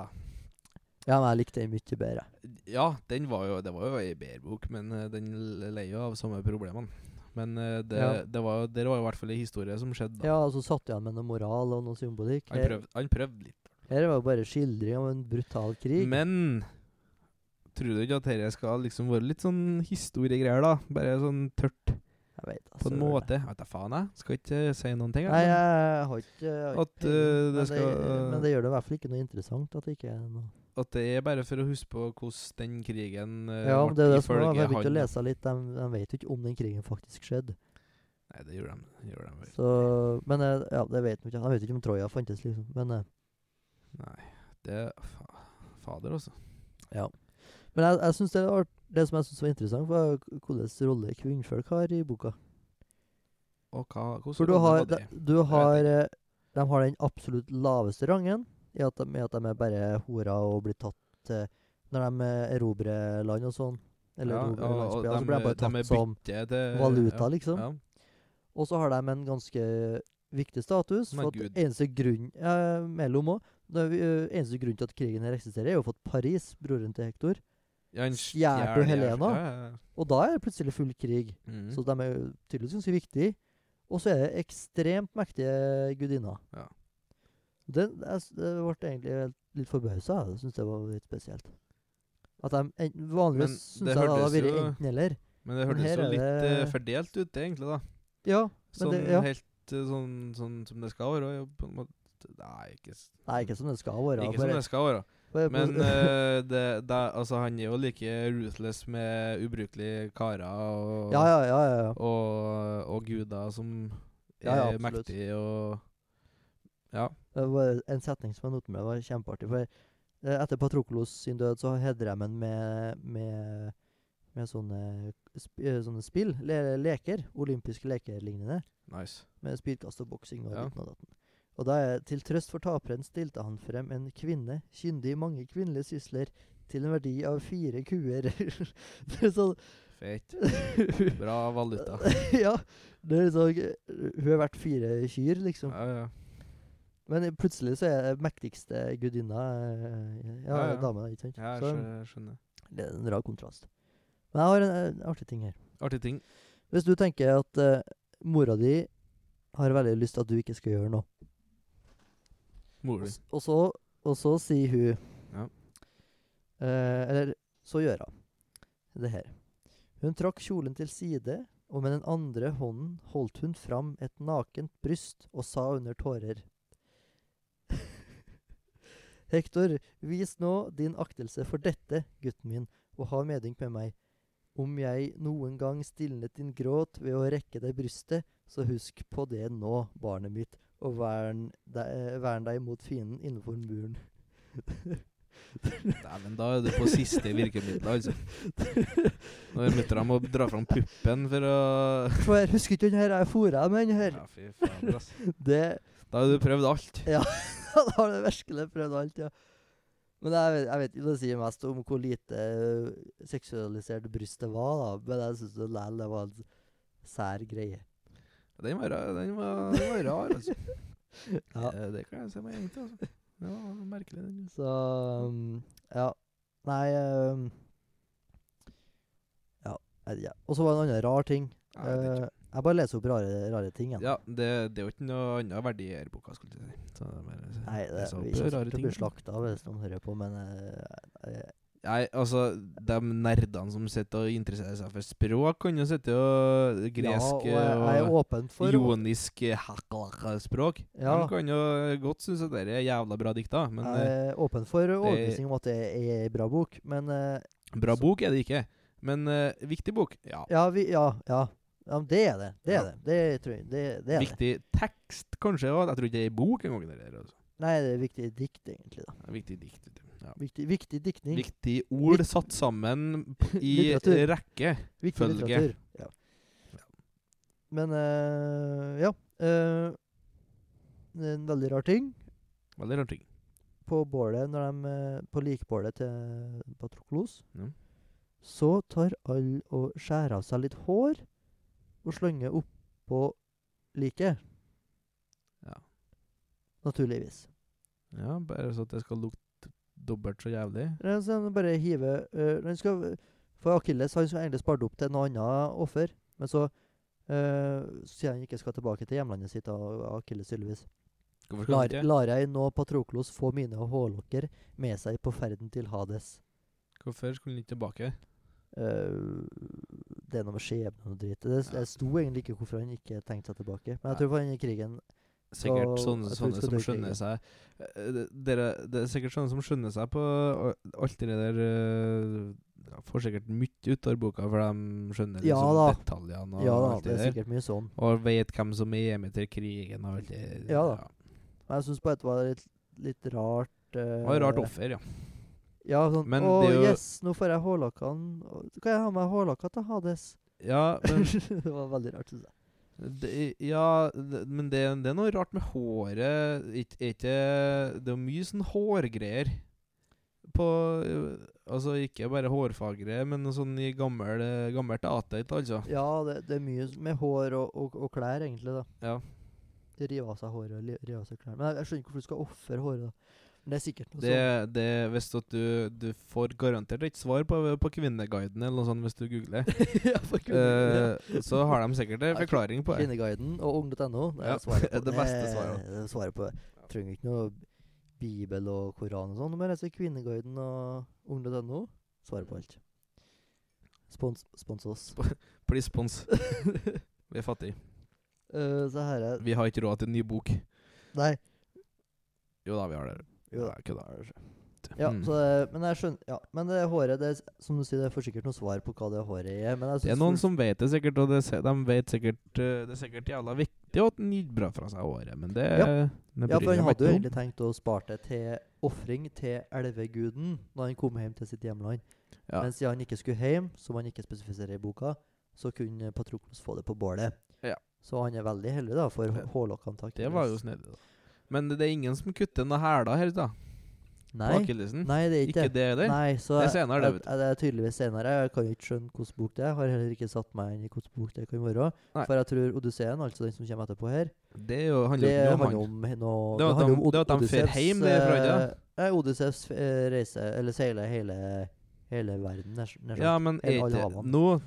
Speaker 2: Ja, men jeg likte den mye bedre.
Speaker 1: Ja, den var jo, det var jo ei bedre bok, men eh, den leier jo av samme problemene. Men eh, det,
Speaker 2: Ja.
Speaker 1: det var jo det var jo i hvert fall ei historie som skjedde. da.
Speaker 2: Ja, og så satt jeg igjen med noe moral og noe symbolikk.
Speaker 1: Han,
Speaker 2: Her,
Speaker 1: prøvde, han prøvde litt.
Speaker 2: her var jo bare skildring av en brutal krig.
Speaker 1: Men tror du ikke at dette skal liksom være litt sånn historiegreier, da? Bare sånn tørt.
Speaker 2: Jeg vet, altså.
Speaker 1: På en måte. Jeg vet da faen, jeg. Skal ikke eh, si noen ting. jeg,
Speaker 2: Nei,
Speaker 1: men-
Speaker 2: jeg har ikke jeg har ikke
Speaker 1: At,
Speaker 2: peiling,
Speaker 1: eh, det
Speaker 2: men,
Speaker 1: skal-
Speaker 2: det, men det gjør det i hvert fall ikke noe interessant at det ikke er noe
Speaker 1: At det er bare for å huske på hvordan den krigen eh,
Speaker 2: Ja, men det er det som er,
Speaker 1: ifølge
Speaker 2: jeg begynte å
Speaker 1: han.
Speaker 2: lese litt. De, de vet jo ikke om den krigen faktisk skjedde.
Speaker 1: Nei, det gjorde de. Gjorde de vel.
Speaker 2: Så, men eh, ja, det vet de ikke. De vet ikke om Troja fantes, liksom. Men, eh,
Speaker 1: Nei, det fa Fader, altså.
Speaker 2: men jeg, jeg synes det, var, det som jeg syns var interessant, var k- hvordan rolle kvinnfolk har i boka.
Speaker 1: Og hva hvordan
Speaker 2: For du
Speaker 1: rolle
Speaker 2: har,
Speaker 1: var
Speaker 2: de,
Speaker 1: det?
Speaker 2: du har
Speaker 1: ikke.
Speaker 2: eh, De har den absolutt laveste rangen i at de, med at de er bare horer og blir tatt eh, når de eh, erobrer land og sånn. Eller
Speaker 1: Ja,
Speaker 2: erobrer
Speaker 1: og- og
Speaker 2: landsbyer. Så
Speaker 1: de-
Speaker 2: blir de bare
Speaker 1: de er
Speaker 2: tatt som
Speaker 1: Det- det-
Speaker 2: valuta,
Speaker 1: ja,
Speaker 2: liksom.
Speaker 1: Ja.
Speaker 2: Og så har de en ganske viktig status.
Speaker 1: Men
Speaker 2: For
Speaker 1: Gud.
Speaker 2: at eneste grunn eh, mellom også, det er, eh, eneste grunn til at krigen her eksisterer, er jo for at Paris, broren til Hector
Speaker 1: Ja, han
Speaker 2: Stjal du
Speaker 1: stjal-
Speaker 2: Helena?
Speaker 1: Ja, ja, ja.
Speaker 2: Og da er det plutselig full krig.
Speaker 1: Mm.
Speaker 2: Så de er jo tydeligvis ganske viktige. Og så er det ekstremt mektige gudinner.
Speaker 1: Ja.
Speaker 2: Det, jeg s- det ble egentlig helt- litt forbausa. Jeg syns det var litt spesielt. At de enten,
Speaker 1: Men
Speaker 2: Vanligvis syns
Speaker 1: det
Speaker 2: jeg det hadde
Speaker 1: hørtes
Speaker 2: vært
Speaker 1: jo-
Speaker 2: enten-eller.
Speaker 1: Men det
Speaker 2: Men
Speaker 1: hørtes
Speaker 2: her
Speaker 1: jo
Speaker 2: er
Speaker 1: litt eh,
Speaker 2: det-
Speaker 1: fordelt ut, egentlig, da.
Speaker 2: Ja,
Speaker 1: Sånn
Speaker 2: men det, ja.
Speaker 1: helt eh, sånn, sånn som det skal være. og På en måte. Nei, ikke, s-
Speaker 2: Nei, ikke som det skal være.
Speaker 1: ikke som
Speaker 2: bare-
Speaker 1: det skal
Speaker 2: [LAUGHS]
Speaker 1: være.
Speaker 2: bare-
Speaker 1: Men eh, det, det, altså, han er jo like ruthless med ubrukelige karer og,
Speaker 2: ja, ja, ja, ja, ja.
Speaker 1: og, og guder som er
Speaker 2: Ja, ja, absolutt.
Speaker 1: mektige og Ja.
Speaker 2: Det var en setning som jeg notet meg, det var kjempeartig. For eh, etter Patroklos sin død, så hedrer de ham med, med, med sånne, sp eh, sånne spill, le leker, olympiske leker lignende,
Speaker 1: Nice.
Speaker 2: med spydkast og boksing og
Speaker 1: Ja.
Speaker 2: ditten og datten. Og da er til trøst for taperen stilte han frem en kvinne, kyndig i mange kvinnelige sysler, til en verdi av fire kuer. [LAUGHS] det er
Speaker 1: [LAUGHS]
Speaker 2: sånn [LAUGHS]
Speaker 1: Fett. Bra valuta.
Speaker 2: Ja. Det er sånn Hun har vært fire kyr, liksom.
Speaker 1: Ja, ja.
Speaker 2: Men eh, plutselig så er mektigste gudinna eh, Ja,
Speaker 1: Ja, ja.
Speaker 2: dama, ikke sant?
Speaker 1: ja jeg
Speaker 2: så
Speaker 1: skjø- skjønner.
Speaker 2: det er en rar kontrast. Men jeg har en, eh, artig ting her.
Speaker 1: Artig ting.
Speaker 2: Hvis du tenker at eh, mora di har veldig lyst til at du ikke skal gjøre noe,
Speaker 1: Mor
Speaker 2: og,
Speaker 1: din.
Speaker 2: s- og, så, og så sier hun
Speaker 1: Ja.
Speaker 2: eh, Eller så gjør hun det her. Hun trakk kjolen til side, og med den andre hånden holdt hun fram et nakent bryst og sa under tårer [LAUGHS] Hektor, vis nå din aktelse for dette, gutten min, og ha medynk med meg. Om jeg noen gang stilnet din gråt ved å rekke deg brystet, så husk på det nå, barnet mitt, og vern deg, eh, vern deg mot fienden
Speaker 1: [LAUGHS]
Speaker 2: innenfor muren.
Speaker 1: Dæven, da er du på siste virkemiddel, altså. Når mutter'n må dra fram puppen for å
Speaker 2: For jeg husker ikke den her, jeg fôra med den her.
Speaker 1: Ja, fy fader, ass.
Speaker 2: Det [LAUGHS]
Speaker 1: Da har du prøvd alt.
Speaker 2: Han har det virkelig prøvd alt, ja. Men jeg vet, jeg vet ikke, det sier mest om hvor lite eh, seksualisert brystet var, da. Men jeg syns likevel det var en sær greie.
Speaker 1: Den var, ra- den var, den var rar, altså.
Speaker 2: Ja.
Speaker 1: Eh, Det kan jeg si meg egentlig, altså. Det var merkelig, den.
Speaker 2: Så um, ja. Nei um, Ja. jeg vet ikke, ja. Og så var det en annen rar ting.
Speaker 1: Nei, det er
Speaker 2: Eh, jeg bare leser opp rare, rare ting.
Speaker 1: ikke-
Speaker 2: igjen.
Speaker 1: Ja, det, det er jo ikke noe annet verdi i denne boka, skulle jeg si. Så det er bare,
Speaker 2: Nei, det,
Speaker 1: jeg så
Speaker 2: vi
Speaker 1: på
Speaker 2: kommer
Speaker 1: rare
Speaker 2: til å
Speaker 1: ting.
Speaker 2: bli slakta hvis noen hører på, men eh, eh,
Speaker 1: Nei, altså, de nerdene som sitter og interesserer seg for språk, kan jo sitte og gresk
Speaker 2: ja, og jeg, jeg er
Speaker 1: og,
Speaker 2: åpen for å-
Speaker 1: jonisk eh, hakalaka-språk.
Speaker 2: Ja.
Speaker 1: De kan jo godt synes at dette er jævla bra dikta, men eh,
Speaker 2: Jeg er åpen for overbevisning om at det er ei bra bok, men eh,
Speaker 1: bra bok er det ikke. Men eh, viktig bok, ja.
Speaker 2: ja, vi, ja, ja. ja, men det er det. Det er
Speaker 1: Ja.
Speaker 2: det. Det tror jeg. Det, det er det.
Speaker 1: Viktig tekst, kanskje òg. Jeg tror ikke det er ei bok engang. det der, Altså.
Speaker 2: Nei, det er viktig dikt, egentlig. da.
Speaker 1: Det er Viktig dikt. vet du. Ja.
Speaker 2: Viktig, viktig diktning.
Speaker 1: Viktig ord satt sammen
Speaker 2: [LAUGHS]
Speaker 1: p- i
Speaker 2: Litteratur.
Speaker 1: rekke.
Speaker 2: viktig
Speaker 1: følge.
Speaker 2: litteratur. Ja. Men eh, ja. eh, det er en veldig rar ting.
Speaker 1: Veldig rar ting.
Speaker 2: På bålet, når de, eh, på likbålet til Patroklos,
Speaker 1: Ja.
Speaker 2: så tar alle og skjærer av seg litt hår og slenger oppå liket.
Speaker 1: Ja.
Speaker 2: Naturligvis.
Speaker 1: Ja, bare så at det skal lukte dobbelt så jævlig.
Speaker 2: Eller Så han bare hiver øh, han skal, For Akilles han skulle egentlig spart opp til noe annet offer, men så øh, sier han ikke skal tilbake til hjemlandet sitt av Akilles tydeligvis.
Speaker 1: Hvorfor skal
Speaker 2: Lar,
Speaker 1: han ikke?
Speaker 2: lar jeg nå Patroklos få mine hårlokker med seg på ferden til Hades?
Speaker 1: Hvorfor skulle han ikke tilbake?
Speaker 2: Eh, det er noe med skjebnen og dritt. Det,
Speaker 1: Ja.
Speaker 2: det sto egentlig ikke hvorfor han ikke tenkte seg tilbake. Men
Speaker 1: Nei.
Speaker 2: jeg tror for han i krigen
Speaker 1: Sikkert
Speaker 2: Så
Speaker 1: sånne,
Speaker 2: jeg tror vi
Speaker 1: sånne
Speaker 2: skal
Speaker 1: som
Speaker 2: dyrke
Speaker 1: skjønner
Speaker 2: det.
Speaker 1: seg eh, det- dere, Det er sikkert sånne som skjønner seg på å- alt det der eh, ja, Får sikkert mye ut av boka, for de skjønner liksom
Speaker 2: Ja da.
Speaker 1: detaljene og
Speaker 2: Ja da,
Speaker 1: alt
Speaker 2: det
Speaker 1: det
Speaker 2: er
Speaker 1: der.
Speaker 2: sikkert mye sånn.
Speaker 1: Og vet hvem som er hjemme til krigen og alt det
Speaker 2: Ja da. Men jeg syns bare det var litt, litt rart.
Speaker 1: Det var et rart
Speaker 2: eh,
Speaker 1: offer, ja.
Speaker 2: Ja, sånn
Speaker 1: Men
Speaker 2: Å,
Speaker 1: det er jo-
Speaker 2: yes, nå får jeg hårlakkene. Å, Kan jeg ha med hårlakka til Hades?
Speaker 1: Ja,
Speaker 2: [LAUGHS]
Speaker 1: men
Speaker 2: det var veldig rart, syns jeg.
Speaker 1: det, ja, det, men det, det er noe rart med håret. Ikk- er ikke Det er jo mye sånn hårgreier. På eh, Altså ikke bare hårfagre, men noe sånn i gammel, gammelt ateit, altså.
Speaker 2: Ja, det, det er mye s- med hår og, og, og klær, egentlig, da.
Speaker 1: Ja.
Speaker 2: Rive av seg håret og li- rive av seg klærne. Men jeg, jeg skjønner ikke hvorfor du skal ofre håret, da. Men det er sikkert noe
Speaker 1: Det, det Hvis at du, du får garantert et svar på, på Kvinneguiden eller noe sånt hvis du
Speaker 2: [LAUGHS]
Speaker 1: googler,
Speaker 2: sånt. [LAUGHS] ja, for Kvinneguiden,
Speaker 1: Eh, så har de sikkert en
Speaker 2: Ja,
Speaker 1: forklaring på det.
Speaker 2: Kvinneguiden og ung.no. Det
Speaker 1: Ja,
Speaker 2: er svaret på.
Speaker 1: [LAUGHS] det beste svaret.
Speaker 2: Det er svaret på. det. Trenger ikke noe Bibel og Koran og sånn. Du må lese Kvinneguiden og ung.no. Svaret på alt. Spons, spons oss.
Speaker 1: Please
Speaker 2: [LAUGHS]
Speaker 1: spons. Vi er fattige.
Speaker 2: Eh, så her er
Speaker 1: Vi har ikke råd til en ny bok.
Speaker 2: Nei.
Speaker 1: Jo da, vi har det.
Speaker 2: Jo da.
Speaker 1: Ja, kødda.
Speaker 2: Ja,
Speaker 1: Mm.
Speaker 2: så eh, det, men jeg skjønner Ja, men det håret det, er s- Som du sier, det er for sikkert noe svar på hva det håret er. Men jeg
Speaker 1: Det er
Speaker 2: synes
Speaker 1: noen
Speaker 2: for-
Speaker 1: som vet det sikkert, og det, se- de vet sikkert eh, Det er sikkert jævla viktig at han gir bra fra seg året, men det,
Speaker 2: Ja.
Speaker 1: det
Speaker 2: Ja,
Speaker 1: bryr
Speaker 2: for han
Speaker 1: jeg meg
Speaker 2: hadde jo
Speaker 1: ikke om.
Speaker 2: egentlig tenkt å spare det til ofring til elveguden når han kom hjem til sitt hjemland.
Speaker 1: Ja.
Speaker 2: Men siden han ikke skulle hjem, som han ikke spesifiserer i boka, så kunne Patroklos få det på bålet.
Speaker 1: Ja.
Speaker 2: Så han er veldig heldig, da, for
Speaker 1: Ja.
Speaker 2: hårlokkene takk.
Speaker 1: Det var jo snedig, da. Men det er ingen som kutter noen hæler her, da? På
Speaker 2: Nei,
Speaker 1: akillesen?
Speaker 2: nei, det er
Speaker 1: Ikke
Speaker 2: ikke
Speaker 1: det heller?
Speaker 2: Nei, så
Speaker 1: Det er senere, det,
Speaker 2: jeg-
Speaker 1: vet
Speaker 2: jeg- det er tydeligvis senere. Jeg kan jo ikke skjønne hvilken bok det er. Jeg Har heller ikke satt meg inn i hvilken bok det kan være.
Speaker 1: Nei.
Speaker 2: For jeg tror Odysseen, altså den som kommer etterpå her,
Speaker 1: Det er jo, handler
Speaker 2: det
Speaker 1: jo ikke noe
Speaker 2: handler
Speaker 1: om han.
Speaker 2: om noe
Speaker 1: Det er at
Speaker 2: handler
Speaker 1: de-
Speaker 2: om Od-
Speaker 1: det er at de fer
Speaker 2: Odysseus,
Speaker 1: heim, det er fra
Speaker 2: eh,
Speaker 1: ikke
Speaker 2: Nei, Odysseus eh, reiser Eller seiler hele, hele verden, nær nær
Speaker 1: Ja,
Speaker 2: sagt.
Speaker 1: men
Speaker 2: Eller
Speaker 1: er
Speaker 2: alle
Speaker 1: ikke
Speaker 2: havene.
Speaker 1: nå,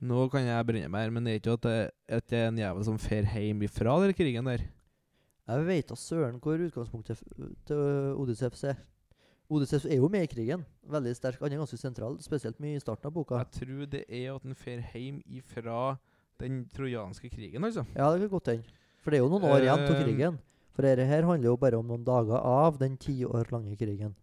Speaker 1: nå kan jeg brenne meg her, men er ikke at det, at det er en jævel som fer hjem ifra den krigen der?
Speaker 2: Jeg veit da søren hvor utgangspunktet f- til ø, Odysseus er. Odysseus er jo med i krigen. Veldig sterk. Han er ganske sentral, spesielt mye i starten av boka.
Speaker 1: Jeg tror det er at han fer hjem ifra den trojanske krigen, altså.
Speaker 2: Ja, det kan godt hende. For det er jo noen år igjen til
Speaker 1: Eh,
Speaker 2: krigen. For dette her handler jo bare om noen dager av den ti år lange krigen.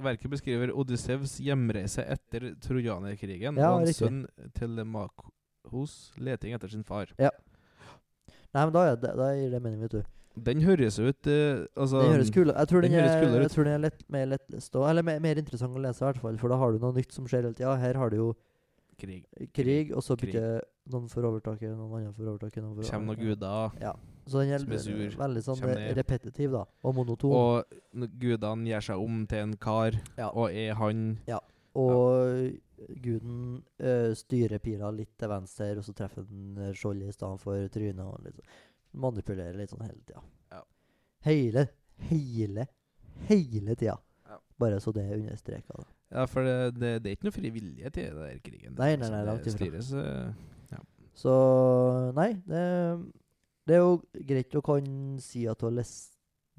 Speaker 1: Verket beskriver Odyssevs hjemreise etter trojanerkrigen
Speaker 2: Ja,
Speaker 1: og hans
Speaker 2: riktig.
Speaker 1: sønn Telemakos leting etter sin far.
Speaker 2: Nei, men da, er det, da gir det mening, vet du.
Speaker 1: Den høres ut eh, altså,
Speaker 2: Den høres kul Jeg tror den,
Speaker 1: den høres
Speaker 2: er,
Speaker 1: kulere ut.
Speaker 2: jeg tror den er lett, mer lettlest og- Eller mer, mer interessant å lese, i hvert fall. For da har du noe nytt som skjer hele tida. Her har du jo
Speaker 1: Krig.
Speaker 2: krig, og så
Speaker 1: Krig.
Speaker 2: bytter noen for overtaket, noen andre for overtaket. Noen for
Speaker 1: Kjem noen guder.
Speaker 2: Så den er
Speaker 1: som er sur,
Speaker 2: l- veldig sånn
Speaker 1: kjem
Speaker 2: eh,
Speaker 1: ned.
Speaker 2: repetitiv, da. Og monoton. Og,
Speaker 1: Og n- gudene gjør seg om til en kar,
Speaker 2: Ja.
Speaker 1: og er han
Speaker 2: guden ø, styrer pila litt til venstre, og så treffer den eh, skjoldet i stedet for trynet. Og litt sånn. Manipulerer litt sånn hele tida.
Speaker 1: Ja.
Speaker 2: Hele, hele, hele tida.
Speaker 1: Ja.
Speaker 2: Bare så det er understreka. da.
Speaker 1: Ja, for det, det, det er ikke noe frivillige til den der krigen.
Speaker 2: Nei, nei,
Speaker 1: Altså,
Speaker 2: nei, langt
Speaker 1: det
Speaker 2: ifra.
Speaker 1: styres eh,
Speaker 2: Så nei, det, det er jo greit å kan si at du har lest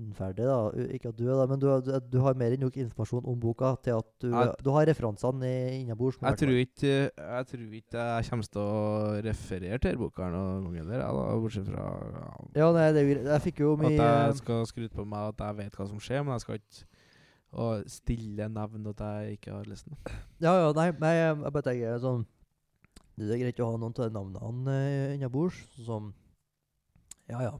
Speaker 2: den ferdig, da. U- Ikke at du er det, men du, har- du, du har mer enn nok informasjon om boka til at du,
Speaker 1: Jeg-
Speaker 2: du har referansene i- innabords.
Speaker 1: jeg,
Speaker 2: nå, hvertfall.
Speaker 1: tror ikke, eh, jeg tror ikke jeg kommer til å referere til denne boka noen gang heller, jeg da, bortsett fra ja,
Speaker 2: Ja, nei, det er jo greit. Jeg fikk jo
Speaker 1: At
Speaker 2: mye
Speaker 1: jeg skal skryte på meg at jeg vet hva som skjer, men jeg skal ikke å stille navn at jeg ikke har lest den.
Speaker 2: Ja, ja, nei, nei jeg jeg bare tenker sånn Det er greit å ha noen av navnene eh, innabords, sånn som Ja, ja.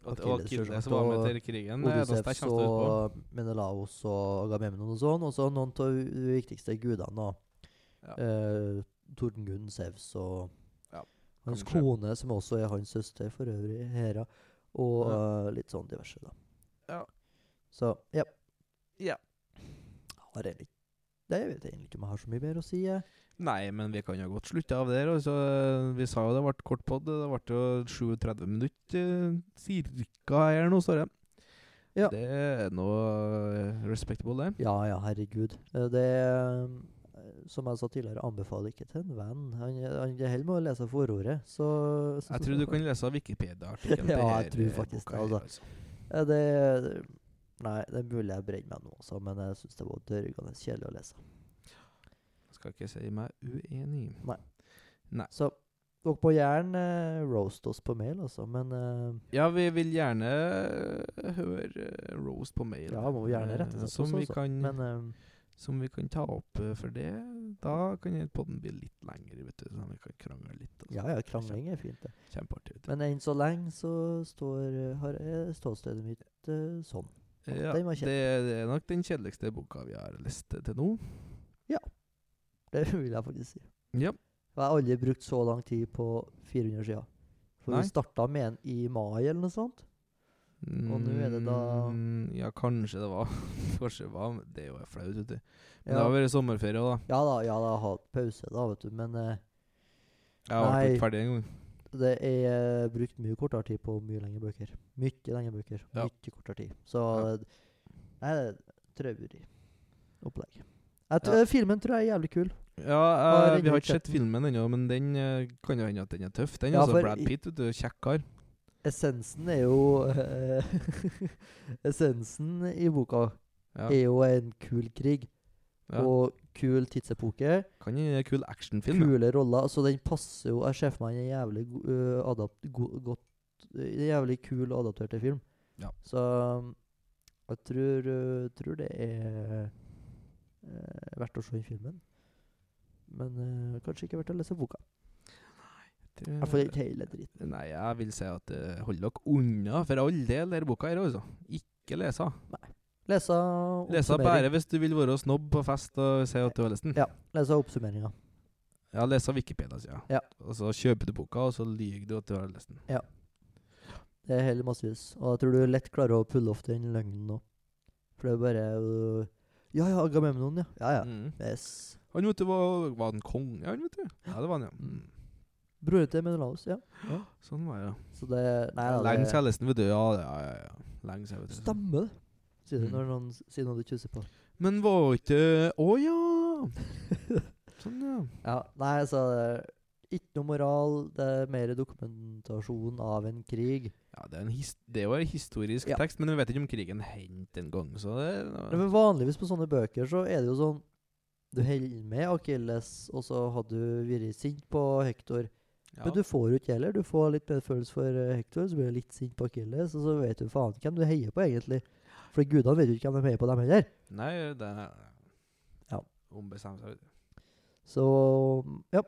Speaker 1: At
Speaker 2: Achilles,
Speaker 1: sånn. og Achilles
Speaker 2: selvsagt,
Speaker 1: var med
Speaker 2: og
Speaker 1: til krigen. eh, da
Speaker 2: Odysseus
Speaker 1: stakk jeg ut på.
Speaker 2: og Menelaos og Agamemnon og sånn. Og så noen av de viktigste gudene. da.
Speaker 1: Ja.
Speaker 2: Eh, Tordengunn, Sevs og
Speaker 1: Ja,
Speaker 2: hans
Speaker 1: kongen selv.
Speaker 2: kone, som også er hans søster for øvrig, Hera. Og eh, litt sånn diverse, da.
Speaker 1: Ja.
Speaker 2: Så ja.
Speaker 1: Ja.
Speaker 2: Har jeg litt Nei, jeg vet egentlig ikke om jeg har så mye mer å si. jeg.
Speaker 1: Nei, men vi kan jo godt slutte av der. Og så, eh, vi sa jo det ble kort pod. Det ble jo 37 minutter eh, cirka her nå, står det.
Speaker 2: Ja.
Speaker 1: Det er noe eh, respectable, det.
Speaker 2: Ja ja, herregud. Eh, Det eh, som jeg sa tidligere, anbefaler ikke til en venn. Han, han det holder med å lese forordet. Så
Speaker 1: Jeg tror du kan lese av Wikipedia-artikkelen. til
Speaker 2: [LAUGHS] Ja, jeg
Speaker 1: her,
Speaker 2: tror
Speaker 1: eh,
Speaker 2: faktisk
Speaker 1: boka
Speaker 2: det,
Speaker 1: her,
Speaker 2: altså. Ja, det Nei, det er mulig jeg brenner meg nå også, men jeg syns det var dørgende kjedelig å lese.
Speaker 1: Skal ikke si meg uenig.
Speaker 2: Nei.
Speaker 1: Nei.
Speaker 2: Så dere må gjerne eh, roast oss på mail, altså. Men eh,
Speaker 1: Ja, vi vil gjerne høre eh, roast på mail.
Speaker 2: ja, må gjerne rette
Speaker 1: eh,
Speaker 2: seg
Speaker 1: som, vi kan,
Speaker 2: Men eh,
Speaker 1: som vi kan ta opp, eh, for det da kan podden bli litt lengre, vet du. Sånn at vi kan krangle litt. og sånn.
Speaker 2: ja, ja, krangling er fint, det.
Speaker 1: Kjempeartig. vet du.
Speaker 2: Men enn så lenge så står, eh, har jeg ståstedet mitt eh, sånn.
Speaker 1: Ja,
Speaker 2: den var
Speaker 1: det,
Speaker 2: kjedelig.
Speaker 1: det er nok den kjedeligste boka vi har lest til nå.
Speaker 2: Det vil jeg faktisk si.
Speaker 1: Ja.
Speaker 2: Og jeg har aldri brukt så lang tid på 400 sider. For
Speaker 1: Nei.
Speaker 2: vi starta med en i mai, eller noe sånt. Og nå er det da-
Speaker 1: Mm, Ja, kanskje det var [LAUGHS] Kanskje det var men Det er jo flaut, vet du. Men det
Speaker 2: Ja.
Speaker 1: har vært sommerferie òg, da.
Speaker 2: Ja da, ja da, hatt pause, da, vet du. Men eh,
Speaker 1: Jeg har
Speaker 2: Nei.
Speaker 1: ikke ferdig engang.
Speaker 2: det er eh, brukt mye kortere tid på mye lengre bøker. Mye lengre bøker.
Speaker 1: Ja.
Speaker 2: Mye kortere tid. Så
Speaker 1: Ja.
Speaker 2: eh, Nei, det er traurig opplegg. Jeg t eh,
Speaker 1: Ja.
Speaker 2: Filmen tror jeg er jævlig kul.
Speaker 1: Ja,
Speaker 2: Har
Speaker 1: eh,
Speaker 2: ennå
Speaker 1: vi har
Speaker 2: ikke
Speaker 1: ikke
Speaker 2: sett
Speaker 1: sett filmen ennå, men den eh, kan jo hende at den er tøff. Den,
Speaker 2: Ja,
Speaker 1: altså
Speaker 2: for
Speaker 1: Brad
Speaker 2: i-
Speaker 1: Pitt, vet du. Kjekk kar.
Speaker 2: Essensen er jo eh, [LAUGHS] Essensen i boka
Speaker 1: Ja.
Speaker 2: er jo en kul krig
Speaker 1: Ja.
Speaker 2: og kul tidsepoke.
Speaker 1: Kan hende det er en kul actionfilm. ja.
Speaker 2: Kule roller. Så den passer jo Jeg ser for meg en jævlig go øh, adapt go godt En jævlig kul og adaptert til film.
Speaker 1: Ja.
Speaker 2: Så um, jeg tror, øh, tror det er eh, verdt å se den filmen. Men eh, kanskje ikke verdt å lese boka.
Speaker 1: Det-
Speaker 2: Jeg får ikke hele dritten.
Speaker 1: Nei, jeg vil si at eh, hold dere unna for all del denne boka her, altså. Ikke lese.
Speaker 2: Lese
Speaker 1: Lese bare hvis du vil være snobb på fest og si at du har lest den.
Speaker 2: Ja. Lese oppsummeringa.
Speaker 1: Ja, lese Wikipedia-sida.
Speaker 2: Ja.
Speaker 1: Og så kjøper du boka, og så lyver du at du har lest den.
Speaker 2: Det er heller massevis. Og jeg tror du lett klarer å pulle off den løgnen nå. For det er bare øh, Ja ja, Agamemnon, ja. Ja ja.
Speaker 1: Mm.
Speaker 2: Yes.
Speaker 1: Han vet du, var, var han konge, han, vet du? Ja, det var han, ja. Mm.
Speaker 2: Broren til Menelaus, ja.
Speaker 1: Sånn var det, ja.
Speaker 2: Så det Nei, da,
Speaker 1: Lenge
Speaker 2: det
Speaker 1: siden jeg leste den, vet du. Ja, ja, ja. ja. Lenge siden, vet du.
Speaker 2: stemmer, det. Sier du
Speaker 1: Mm.
Speaker 2: når noen s- sier noe du kjusser på.
Speaker 1: Men var ikke Å
Speaker 2: [LAUGHS]
Speaker 1: ja! Sånn, ja.
Speaker 2: Ja, Nei, så det er ikke noe moral. Det er mer dokumentasjon av en krig.
Speaker 1: ja det, er en his det er jo en historisk
Speaker 2: Ja.
Speaker 1: tekst, men vi vet ikke om krigen hendte en gang, så det
Speaker 2: Nei, Men vanligvis på sånne bøker så er det jo sånn Du holder med Akilles, og så hadde du vært sint på Hektor. Men du
Speaker 1: ja.
Speaker 2: får jo ikke heller. Du får litt medfølelse for eh, Hektor, så blir du litt sint på Akilles, og så vet du faen hvem du heier på, egentlig. For gudene vet jo ikke hvem de heier på, dem heller.
Speaker 1: Nei, det er
Speaker 2: Ja.
Speaker 1: Ombestemt seg, vet du.
Speaker 2: Så ja.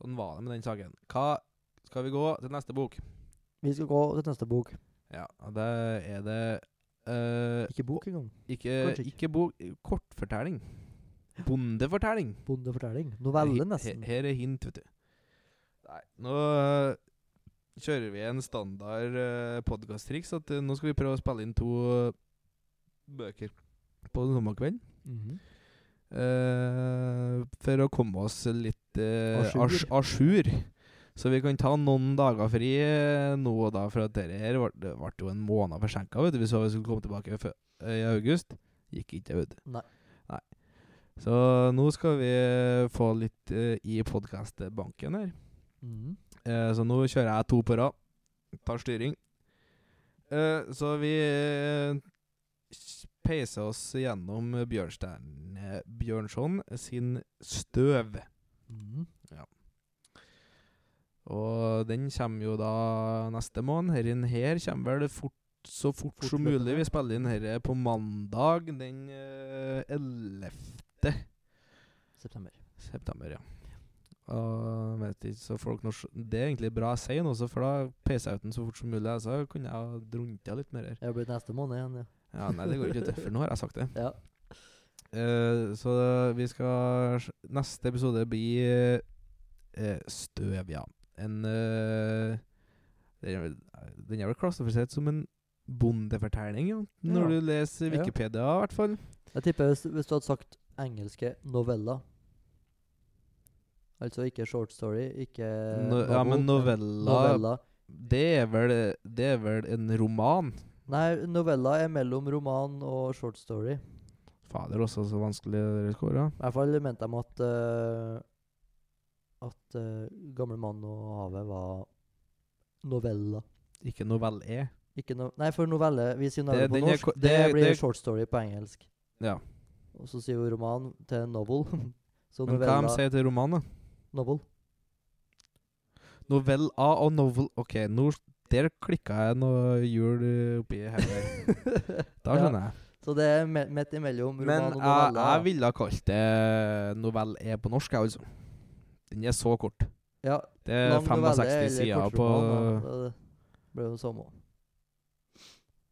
Speaker 1: Sånn var det med den saken. Hva skal vi gå til neste bok?
Speaker 2: Vi skal gå til neste bok.
Speaker 1: Ja, og det er det eh,
Speaker 2: Ikke bok engang.
Speaker 1: Ikke,
Speaker 2: Kanskje ikke.
Speaker 1: ikke bok Kortfortelling. Bondefortelling.
Speaker 2: Bondefortelling. Novelle,
Speaker 1: He-
Speaker 2: nesten.
Speaker 1: Her er hint, vet du. Nei, nå øh, kjører vi en standard uh, podkasttriks. At øh, nå skal vi prøve å spille inn to øh, bøker på sommerkvelden. eh, for å komme oss litt uh,
Speaker 2: Ajour.
Speaker 1: à jour. Så vi kan ta noen dager fri eh, nå og da, for at dette her ble, det ble jo en måned forsinka. Vi sa vi skulle komme tilbake i fø- eh, i august. Gikk ikke, vet du.
Speaker 2: Nei.
Speaker 1: Nei. Så nå skal vi få litt eh, i podkastbanken her.
Speaker 2: Mhm.
Speaker 1: Eh, så nå kjører jeg to på rad. Tar styring. Eh, så vi eh, s- peiser oss gjennom Bjørnstjern eh, Bjørnson sin 'Støv'.
Speaker 2: Mhm.
Speaker 1: Og den kommer jo da neste måned. Herren her kommer vel fort, så fort, som
Speaker 2: Fortløpende.
Speaker 1: mulig. Vi spiller inn herre på mandag den eh, 11.
Speaker 2: September.
Speaker 1: September, ja. Og vet ikke, så folk når, Det er egentlig bra jeg sier noe, så for da peiser jeg ut den så fort som mulig. Så kunne jeg ha drunta litt mer her.
Speaker 2: Det blir neste måned igjen, ja.
Speaker 1: Ja, Nei, det går ikke ut, for nå har jeg sagt det.
Speaker 2: ja.
Speaker 1: [LAUGHS] Eh, så vi skal s- Neste episode blir eh, støv, ja. En eh, den er vel- Den er vel klassifisert som en bondefortelling, ja. Når
Speaker 2: Ja.
Speaker 1: du leser
Speaker 2: Ja.
Speaker 1: Wikipedia, i hvert fall.
Speaker 2: Jeg tipper hvis, hvis du hadde sagt engelske noveller Altså ikke short story, ikke
Speaker 1: No, ja, men
Speaker 2: novel,
Speaker 1: Eh, novella
Speaker 2: novella.
Speaker 1: Det er vel, det er vel en roman.
Speaker 2: Nei, novella er mellom roman og short story. I
Speaker 1: Fader, også så vanskelig dere skåra.
Speaker 2: hvert fall mente de at eh, At eh, Gamle mann og havet var novella.
Speaker 1: Ikke E, novelle-E.
Speaker 2: Ikke no Nei, for novelle Vi sier novelle
Speaker 1: Det-
Speaker 2: på
Speaker 1: den er
Speaker 2: norsk.
Speaker 1: ko-
Speaker 2: det,
Speaker 1: det-
Speaker 2: blir
Speaker 1: det-
Speaker 2: short story på engelsk.
Speaker 1: Ja.
Speaker 2: Og så sier vi roman til novel. [LAUGHS] Så
Speaker 1: Men hva de
Speaker 2: novella
Speaker 1: sier til roman, da? [LAUGHS]
Speaker 2: Novel.
Speaker 1: Novell A og novel OK, nå, der klikka jeg noe hjul eh, oppi [LAUGHS] her. Da
Speaker 2: Ja,
Speaker 1: skjønner jeg.
Speaker 2: Så det er me- midt imellom
Speaker 1: Men
Speaker 2: roman
Speaker 1: eh, jeg,
Speaker 2: og novella.
Speaker 1: jeg ville ha kalt det novell E på norsk, jeg, altså. Den er så kort.
Speaker 2: ja,
Speaker 1: E, Det er altså.
Speaker 2: lang novelle
Speaker 1: 65
Speaker 2: eller
Speaker 1: sider Eh, på
Speaker 2: kortroman, da. Det blir jo det samme.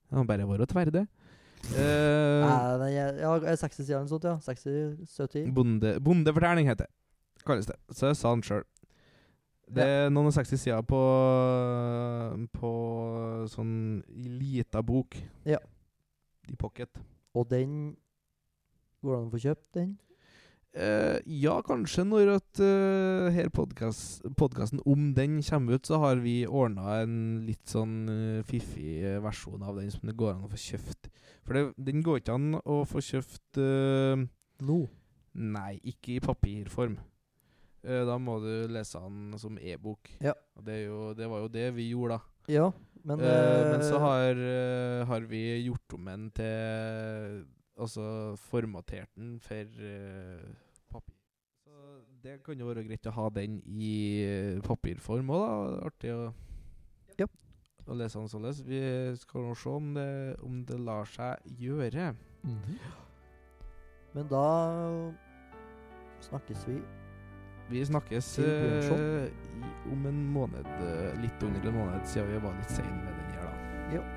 Speaker 1: Det må bare være å tverde. [LAUGHS]
Speaker 2: Uh,
Speaker 1: Eh,
Speaker 2: Nei, jeg, ja, er 60 sider eller noe sånt, ja. 60-70.
Speaker 1: bonde, bondefortelling heter det. Kalles det. Så jeg sa den sjøl. Det er noen og seksti sider på På sånn lita bok.
Speaker 2: Ja.
Speaker 1: I pocket.
Speaker 2: Og den Går det an å få kjøpt den?
Speaker 1: Eh, ja, kanskje når at eh, her podcast, podkasten om den kommer ut, så har vi ordna en litt sånn eh, fiffig eh, versjon av den som det går an å få kjøpt. For det, den går ikke an å få kjøpt eh,
Speaker 2: Nå?
Speaker 1: Nei, ikke i papirform. Eh, da må du lese den som e-bok.
Speaker 2: Ja.
Speaker 1: Og det, er jo, det var jo det vi gjorde, da.
Speaker 2: Ja, men
Speaker 1: Eh, men så
Speaker 2: eh,
Speaker 1: har, eh, har vi gjort om den til Altså formatert den for eh, papir. Så det kan jo være greit å ha den i eh, papirform òg, da. Artig å,
Speaker 2: Ja.
Speaker 1: å lese den således. Vi skal nå se om det, om det lar seg gjøre.
Speaker 2: Mhm. Men da snakkes vi.
Speaker 1: Vi snakkes
Speaker 2: Til Bjørnson.
Speaker 1: eh, i- om en måned, eh, litt under en måned, siden vi var litt seine med den her, da.
Speaker 2: Ja.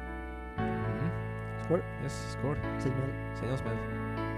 Speaker 1: Mhm.
Speaker 2: Skål.
Speaker 1: Yes, skål.
Speaker 2: Send meg en
Speaker 1: Send oss mail.
Speaker 2: Hei.